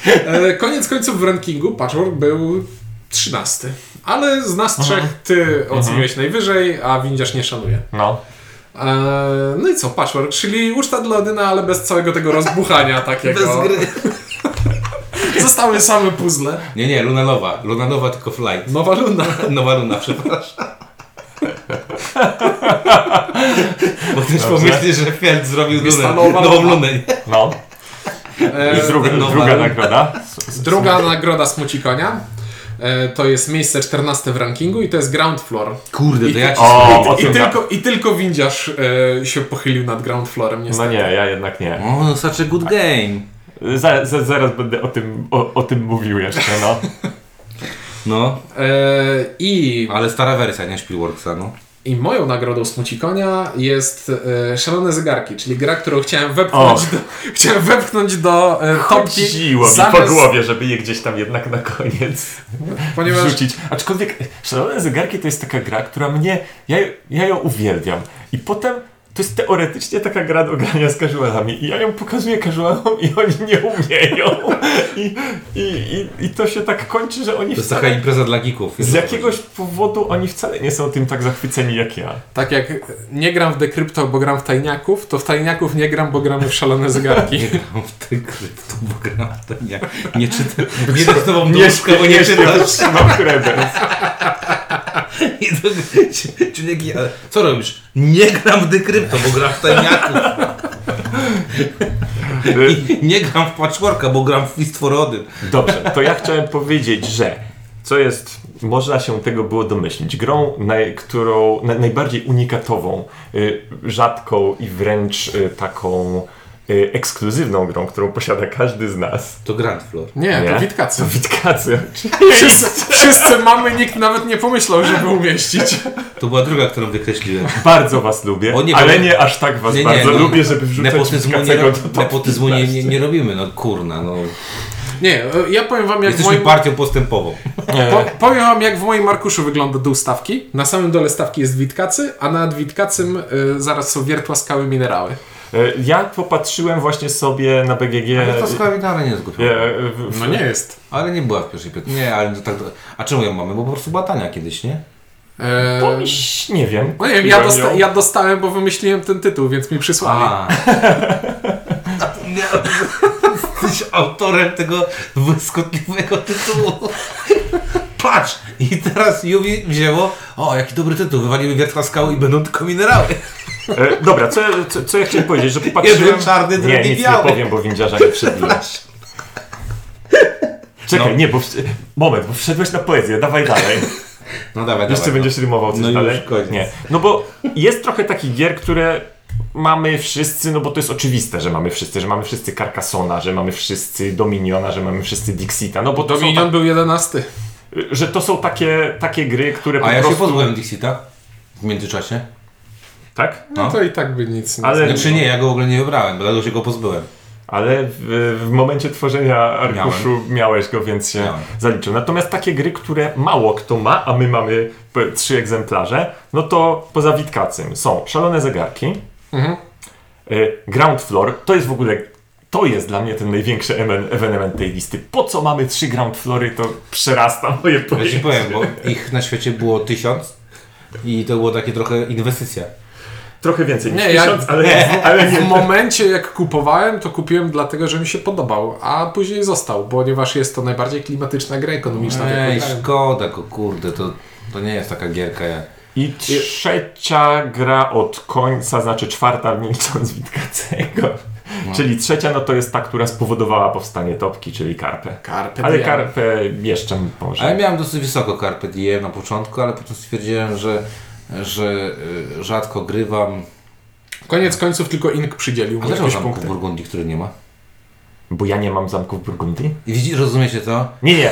Speaker 2: E, Koniec końców w rankingu Patchwork był 13. Ale z nas trzech ty oceniłeś najwyżej, a windziarz nie szanuje.
Speaker 3: No.
Speaker 2: E, no i co, Patchwork, czyli uczta dla Odyna, ale bez całego tego rozbuchania takiego. Zostały same puzzle.
Speaker 1: Nie, nie, Luna Nowa. Luna Nowa tylko flight.
Speaker 2: Nowa runda.
Speaker 1: Nowa Luna, przepraszam. Bo też pomyślisz, że Fiat zrobił Lunę,
Speaker 2: Stanowa
Speaker 1: nową
Speaker 2: Luna.
Speaker 1: Lunę. nie?
Speaker 3: No.
Speaker 2: E,
Speaker 3: I druga,
Speaker 1: nowa
Speaker 3: druga
Speaker 1: runda.
Speaker 3: nagroda.
Speaker 2: Druga nagroda Smuci Konia. E, to jest miejsce 14 w rankingu i to jest Ground Floor.
Speaker 1: Kurde, to ja ci...
Speaker 3: O, o
Speaker 2: I
Speaker 3: tym ja-
Speaker 2: tylko, I tylko windziarz e, się pochylił nad Ground Floorem, niestety.
Speaker 3: No nie, ja jednak nie.
Speaker 1: O, no such a good game.
Speaker 3: Za, za, zaraz będę o tym, o, o tym mówił jeszcze, no.
Speaker 1: No,
Speaker 2: E, I
Speaker 1: ale stara wersja, nie Spielworksa, no.
Speaker 2: I moją nagrodą Smucikonia jest e, Szalone Zegarki, czyli gra, którą chciałem wepchnąć
Speaker 3: Och.
Speaker 2: do, chciałem wepchnąć do e, topki
Speaker 3: Chodziło mi po głowie, żeby je gdzieś tam jednak na koniec
Speaker 2: ponieważ
Speaker 3: wrzucić. Aczkolwiek Szalone Zegarki to jest taka gra, która mnie... Ja, ja ją uwielbiam. I potem... To jest teoretycznie taka gra do grania z casualami i ja ją pokazuję casualom i oni nie umieją. I, i, i, i to się tak kończy, że oni
Speaker 1: To jest taka impreza dla geeków.
Speaker 3: Z jakiegoś powodu oni wcale nie są tym tak zachwyceni jak ja.
Speaker 2: tak jak nie gram w Dekrypto, bo gram w Tajniaków, to w Tajniaków nie gram, bo gramy w Szalone Zegarki.
Speaker 1: Nie gram w te krypto, bo gram w te... Nie, nie czytam. Nie dostawam do łóżka,
Speaker 3: Tak śpię-
Speaker 1: bo nie
Speaker 3: śpię,
Speaker 1: czytasz.
Speaker 3: tak Trzymam kredens.
Speaker 1: I to, czyli jak, co robisz? Nie gram w dekrypto, bo gram w tajniaków. I nie gram w patchworka, bo gram w Fistworody.
Speaker 3: Dobrze, to ja chciałem powiedzieć, że co jest, można się tego było domyślić, grą, naj, którą, na, najbardziej unikatową, y, rzadką i wręcz y, taką y, ekskluzywną grą, którą posiada każdy z nas.
Speaker 1: To Grand Floor.
Speaker 2: Nie,
Speaker 3: Nie.
Speaker 2: to Witkacy.
Speaker 3: Witkacy.
Speaker 2: Wszyscy, wszyscy mamy, nikt nawet nie pomyślał, żeby umieścić.
Speaker 1: To była druga, którą wykreśliłem.
Speaker 3: Bardzo was lubię,
Speaker 1: O nie,
Speaker 3: ale
Speaker 1: bo-
Speaker 3: nie aż tak was bardzo
Speaker 1: no,
Speaker 3: lubię, żeby wrzucać
Speaker 1: nepotyzmu nie,
Speaker 3: Witkacego
Speaker 1: ro,
Speaker 3: do top
Speaker 1: nepotyzmu nie, nie,
Speaker 3: 15.
Speaker 1: nie robimy, no kurna, no.
Speaker 2: Nie, e, ja powiem wam jak w
Speaker 1: Jesteśmy
Speaker 2: moim...
Speaker 1: partią postępową.
Speaker 2: Po, powiem wam, jak w moim arkuszu wygląda dół stawki. Na samym dole stawki jest Witkacy, a nad Witkacym e, zaraz są wiertła, skały, minerały.
Speaker 3: E, Ja popatrzyłem właśnie sobie na BGG.
Speaker 1: Ale to skawinara nie zgubiło.
Speaker 3: e, w- w-
Speaker 2: No nie jest.
Speaker 1: Ale nie była w pierwszej piątce. Nie, ale to tak. A czemu ją mamy? Bo po prostu była tania kiedyś, nie?
Speaker 2: Eee,
Speaker 3: bo mi się- nie wiem.
Speaker 2: no nie wiem, ja,
Speaker 3: kupiłem
Speaker 2: dosta-
Speaker 3: ją.
Speaker 2: ja dostałem, bo wymyśliłem ten tytuł, więc mi przysłali.
Speaker 1: A. Zapomniałem, że jesteś autorem tego błyskotliwego tytułu. Patrz! I teraz Juwi wzięło, o jaki dobry tytuł, wywalimy wiertła skały i będą tylko minerały.
Speaker 3: E, dobra, co, ja- co, co ja chciałem powiedzieć, że popatrzyłem...
Speaker 1: Jeden czarny, drugi
Speaker 3: nie, nic
Speaker 1: biały.
Speaker 3: nie powiem, bo windziarza nie przydle. Czekaj,
Speaker 1: No.
Speaker 3: nie, bo... wsz- Moment, bo wszedłeś na poezję, dawaj dalej.
Speaker 1: No dawaj,
Speaker 3: Jeszcze
Speaker 1: dawaj.
Speaker 3: będziesz rymował coś
Speaker 1: No już,
Speaker 3: dalej?
Speaker 1: koniec.
Speaker 3: Nie. No bo jest trochę takich gier, które mamy wszyscy, no bo to jest oczywiste, że mamy wszyscy, że mamy wszyscy Carcassona, że mamy wszyscy Dominiona, że mamy wszyscy Dixita, no bo to są
Speaker 2: Dominion był jedenasty.
Speaker 3: tak- że to są takie, takie gry, które po
Speaker 1: no. A ja się
Speaker 3: prostu...
Speaker 1: pozbyłem Dixita w międzyczasie.
Speaker 3: Tak?
Speaker 2: No,
Speaker 1: No.
Speaker 2: to i tak by nic nie
Speaker 3: Ale-
Speaker 1: Znaczy nie, ja go w ogóle nie wybrałem, dlatego się go pozbyłem.
Speaker 3: Ale w, w momencie tworzenia arkuszu miałeś go, więc się
Speaker 1: Miałem.
Speaker 3: zaliczył. Natomiast takie gry, które mało kto ma, a my mamy p- trzy egzemplarze, no to poza Witkacym są Szalone Zegarki,
Speaker 2: Mhm.
Speaker 3: y, Ground Floor, to jest w ogóle To jest dla mnie ten największy emen- ewenement tej listy. Po co mamy 3 Grand Flory, to przerasta moje
Speaker 1: Ja ci
Speaker 3: pojęcie.
Speaker 1: powiem, bo ich na świecie było tysiąc i to było takie trochę inwestycja.
Speaker 3: Trochę więcej niż
Speaker 2: Nie, ja-
Speaker 3: tysiąc, ale nie, ale
Speaker 2: W
Speaker 3: nie.
Speaker 2: momencie jak kupowałem, to kupiłem dlatego, że mi się podobał, a później został, ponieważ jest to najbardziej klimatyczna gra ekonomiczna. jaką
Speaker 1: Ej,
Speaker 2: grałem.
Speaker 1: szkoda, ko, kurde, to, to nie jest taka gierka jak...
Speaker 3: I trzecia gra od końca, znaczy czwarta milcząc Witkacego. Czyli trzecia, no to jest ta, która spowodowała powstanie topki, czyli karpę.
Speaker 2: Carpe
Speaker 3: Ale
Speaker 2: diem.
Speaker 3: karpę jeszcze
Speaker 1: A
Speaker 3: może.
Speaker 1: ja miałem dosyć wysoko Carpe Diem na początku, ale potem stwierdziłem, że, że y, rzadko grywam.
Speaker 2: Koniec końców tylko Ink przydzielił
Speaker 1: A
Speaker 2: mi
Speaker 1: dlaczego
Speaker 2: jakieś
Speaker 1: zamku w
Speaker 2: punkty.
Speaker 1: Burgundii, który nie ma?
Speaker 3: Bo ja nie mam zamku w Burgundii.
Speaker 1: I widzisz, rozumiecie to?
Speaker 3: Nie, nie.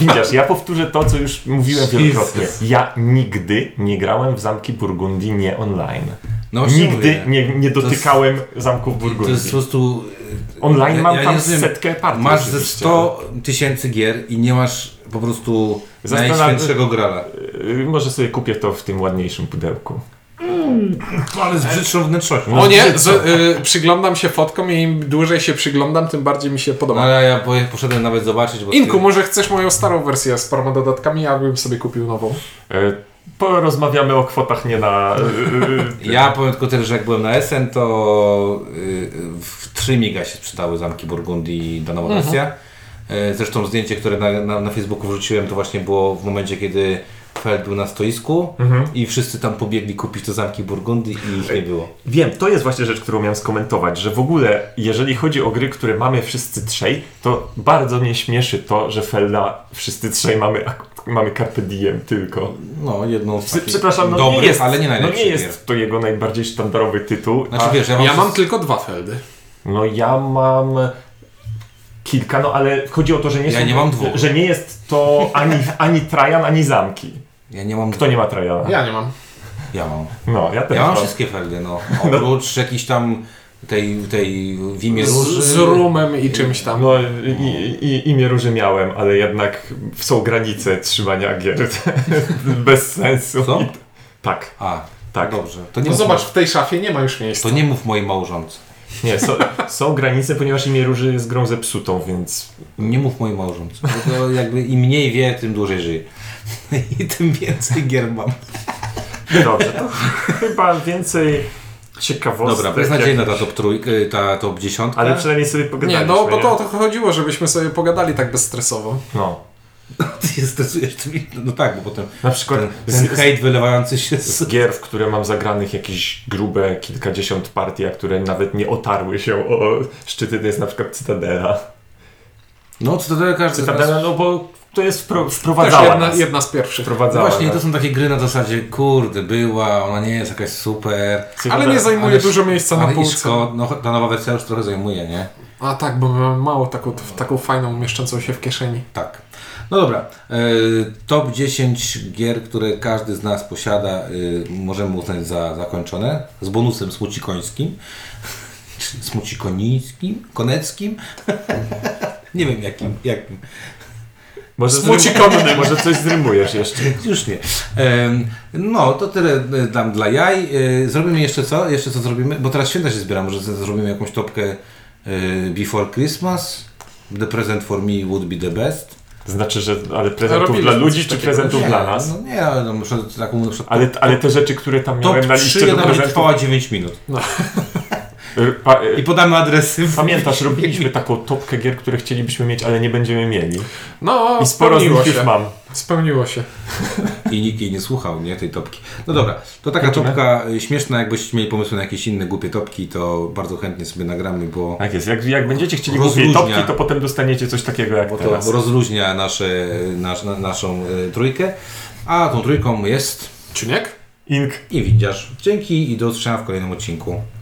Speaker 3: Widzisz, ja powtórzę to, co już mówiłem wielokrotnie. Ja nigdy nie grałem w zamki Burgundii nie online.
Speaker 1: No właśnie
Speaker 3: Nigdy
Speaker 1: mówię.
Speaker 3: nie, nie dotykałem zamków
Speaker 1: To jest po
Speaker 3: Burgundii.
Speaker 1: prostu... y,
Speaker 3: Online
Speaker 1: ja-
Speaker 3: mam
Speaker 1: ja
Speaker 3: tam
Speaker 1: nie rozumiem.
Speaker 3: setkę partii.
Speaker 1: Masz ze
Speaker 3: oczywiście.
Speaker 1: 100 tysięcy gier i nie masz po prostu
Speaker 3: Zastanawiam-
Speaker 1: najświętszego grala.
Speaker 3: Yy, Może sobie kupię to w tym ładniejszym pudełku.
Speaker 1: Ale z brzydszą wnętrznością.
Speaker 2: O nie, z, y, przyglądam się fotkom i im dłużej się przyglądam, tym bardziej mi się podoba.
Speaker 1: No, Ale ja poje- poszedłem nawet zobaczyć, bo...
Speaker 2: Inku, może chcesz moją starą wersję z paroma dodatkami, a bym sobie kupił nową.
Speaker 3: Yy, Porozmawiamy o kwotach nie na... yy,
Speaker 1: Ja powiem tylko tyle, że jak byłem na Essen, to y, w 3 miga się sprzedały zamki Burgundii i dana
Speaker 3: Mhm.
Speaker 1: Wenecja. Y, Zresztą zdjęcie, które na, na, na Facebooku wrzuciłem, to właśnie było w momencie, kiedy Feld był na stoisku
Speaker 3: Mhm.
Speaker 1: i wszyscy tam pobiegli kupić te zamki Burgundii i ich nie było.
Speaker 3: Wiem, to jest właśnie rzecz, którą miałem skomentować, że w ogóle, jeżeli chodzi o gry, które mamy wszyscy trzej, to bardzo mnie śmieszy to, że Felda wszyscy trzej mamy, ak- mamy Carpe Diem tylko.
Speaker 1: No, jedną z
Speaker 3: Przy,
Speaker 1: takich
Speaker 3: przepraszam, no
Speaker 1: dobrych,
Speaker 3: nie jest,
Speaker 1: ale nie
Speaker 3: no
Speaker 1: najlepszych
Speaker 3: nie
Speaker 1: gier.
Speaker 3: jest to jego najbardziej sztandarowy tytuł.
Speaker 1: Znaczy
Speaker 3: a-
Speaker 1: wiesz, ja mam...
Speaker 2: Ja mam
Speaker 1: przez-
Speaker 2: tylko dwa Feldy.
Speaker 3: No ja mam kilka, no ale chodzi o to, że nie,
Speaker 1: Ja
Speaker 3: są-
Speaker 1: nie mam dwóch.
Speaker 3: że nie jest to ani, ani Trajan, ani Zamki.
Speaker 1: Ja nie mam...
Speaker 3: Kto nie ma Trajana?
Speaker 2: Ja nie mam.
Speaker 1: Ja mam.
Speaker 3: No, ja też
Speaker 1: Ja mam
Speaker 3: mam.
Speaker 1: wszystkie Feldy, no. Oprócz jakichś tam tej, tej w imię
Speaker 2: Z,
Speaker 1: róży...
Speaker 2: z rumem i czymś tam.
Speaker 3: No i, i, imię Róży miałem, ale jednak są granice trzymania gier. Bez sensu.
Speaker 1: Co?
Speaker 3: I- Tak,
Speaker 1: A,
Speaker 3: tak.
Speaker 1: dobrze. To nie
Speaker 2: No
Speaker 1: mów-
Speaker 2: zobacz, w tej szafie nie ma już miejsca.
Speaker 1: To nie mów mojej małżonce.
Speaker 3: Nie, są, są granice, ponieważ imię Róży jest grą zepsutą, więc
Speaker 1: Nie mów mojej małżonce. Bo to jakby im mniej wie, tym dłużej żyje. I tym więcej gier mam.
Speaker 3: dobrze. To chyba więcej ciekawostek.
Speaker 1: Dobra, beznadziejna ta top trójka, ta top dziesiątka.
Speaker 3: Ale przynajmniej sobie pogadaliśmy.
Speaker 2: Nie, no bo to o to chodziło, żebyśmy sobie pogadali tak bezstresowo.
Speaker 3: No.
Speaker 1: Ty się stresujesz tymi, no tak, bo potem
Speaker 3: Na przykład
Speaker 1: ten,
Speaker 3: z-
Speaker 1: ten
Speaker 3: z-
Speaker 1: hejt wylewający się z...
Speaker 3: z gier, w które mam zagranych jakieś grube kilkadziesiąt partii, a które nawet nie otarły się o szczyty, to jest na przykład Cytadela.
Speaker 1: No, Cytadela każdy z nas...
Speaker 3: Cytadela, no bo to jest wpro-
Speaker 2: Też
Speaker 3: wprowadzała
Speaker 2: jedna,
Speaker 3: nas.
Speaker 2: jedna z pierwszych.
Speaker 1: No
Speaker 3: Wprowadzała
Speaker 1: właśnie, i to
Speaker 3: nas.
Speaker 1: są takie gry na zasadzie, kurde, była, ona nie jest jakaś super.
Speaker 3: Cytadela.
Speaker 2: Ale nie zajmuje
Speaker 1: Ale-
Speaker 2: dużo miejsca na
Speaker 1: Ale i
Speaker 2: półce.
Speaker 1: szko- no, ta nowa wersja już trochę zajmuje, nie?
Speaker 2: A tak, bo mam mało taką, taką fajną mieszczącą się w kieszeni.
Speaker 1: Tak. No dobra, e, top 10 gier, które każdy z nas posiada, e, możemy uznać za zakończone. Z bonusem smucikońskim, czy smucikonińskim, koneckim, nie wiem jakim, jakim,
Speaker 3: Może,
Speaker 2: Smucikodny.
Speaker 3: zrym- może coś zrymujesz jeszcze.
Speaker 1: już nie. Em, No, to tyle e, dam dla jaj. E, Zrobimy jeszcze co? Jeszcze co zrobimy? Bo teraz święta się zbieram, może z- zrobimy jakąś topkę e, Before Christmas, The Present for Me Would Be The Best.
Speaker 3: Znaczy, że
Speaker 1: No,
Speaker 3: ale prezentów
Speaker 2: Robili
Speaker 3: dla
Speaker 2: coś
Speaker 3: ludzi, czy
Speaker 2: takiego.
Speaker 3: prezentów
Speaker 1: Nie,
Speaker 3: dla nas?
Speaker 1: No nie, ale no, muszę taką na przykład
Speaker 3: Ale, ale te rzeczy, które tam
Speaker 1: Top
Speaker 3: miałem na
Speaker 1: 3
Speaker 3: liście do
Speaker 1: jedna będzie
Speaker 3: prezentów...
Speaker 1: trwała 9 minut.
Speaker 3: Y, Pa, y,
Speaker 1: I podamy adresy. w-
Speaker 3: pamiętasz, robiliśmy taką topkę gier, które chcielibyśmy mieć, ale nie będziemy mieli.
Speaker 2: No,
Speaker 3: I sporo z
Speaker 2: spełniło
Speaker 3: nich już
Speaker 2: się.
Speaker 3: mam.
Speaker 2: Spełniło się.
Speaker 1: I nikt jej nie słuchał, nie? Tej topki. No dobra, to taka
Speaker 3: Kończymy?
Speaker 1: topka y, śmieszna. Jakbyście mieli pomysły na jakieś inne głupie topki, to bardzo chętnie sobie nagramy, bo,
Speaker 3: Tak jest, jak, jak będziecie chcieli
Speaker 1: Rozluźnia.
Speaker 3: kupić topki, to potem dostaniecie coś takiego jak
Speaker 1: bo to
Speaker 3: teraz.
Speaker 1: rozluźnia nasze, y, nasz, na, naszą y, trójkę. A tą trójką jest
Speaker 2: Czuniek?
Speaker 3: Ink
Speaker 1: i widzisz. Dzięki i do usłyszenia w kolejnym odcinku.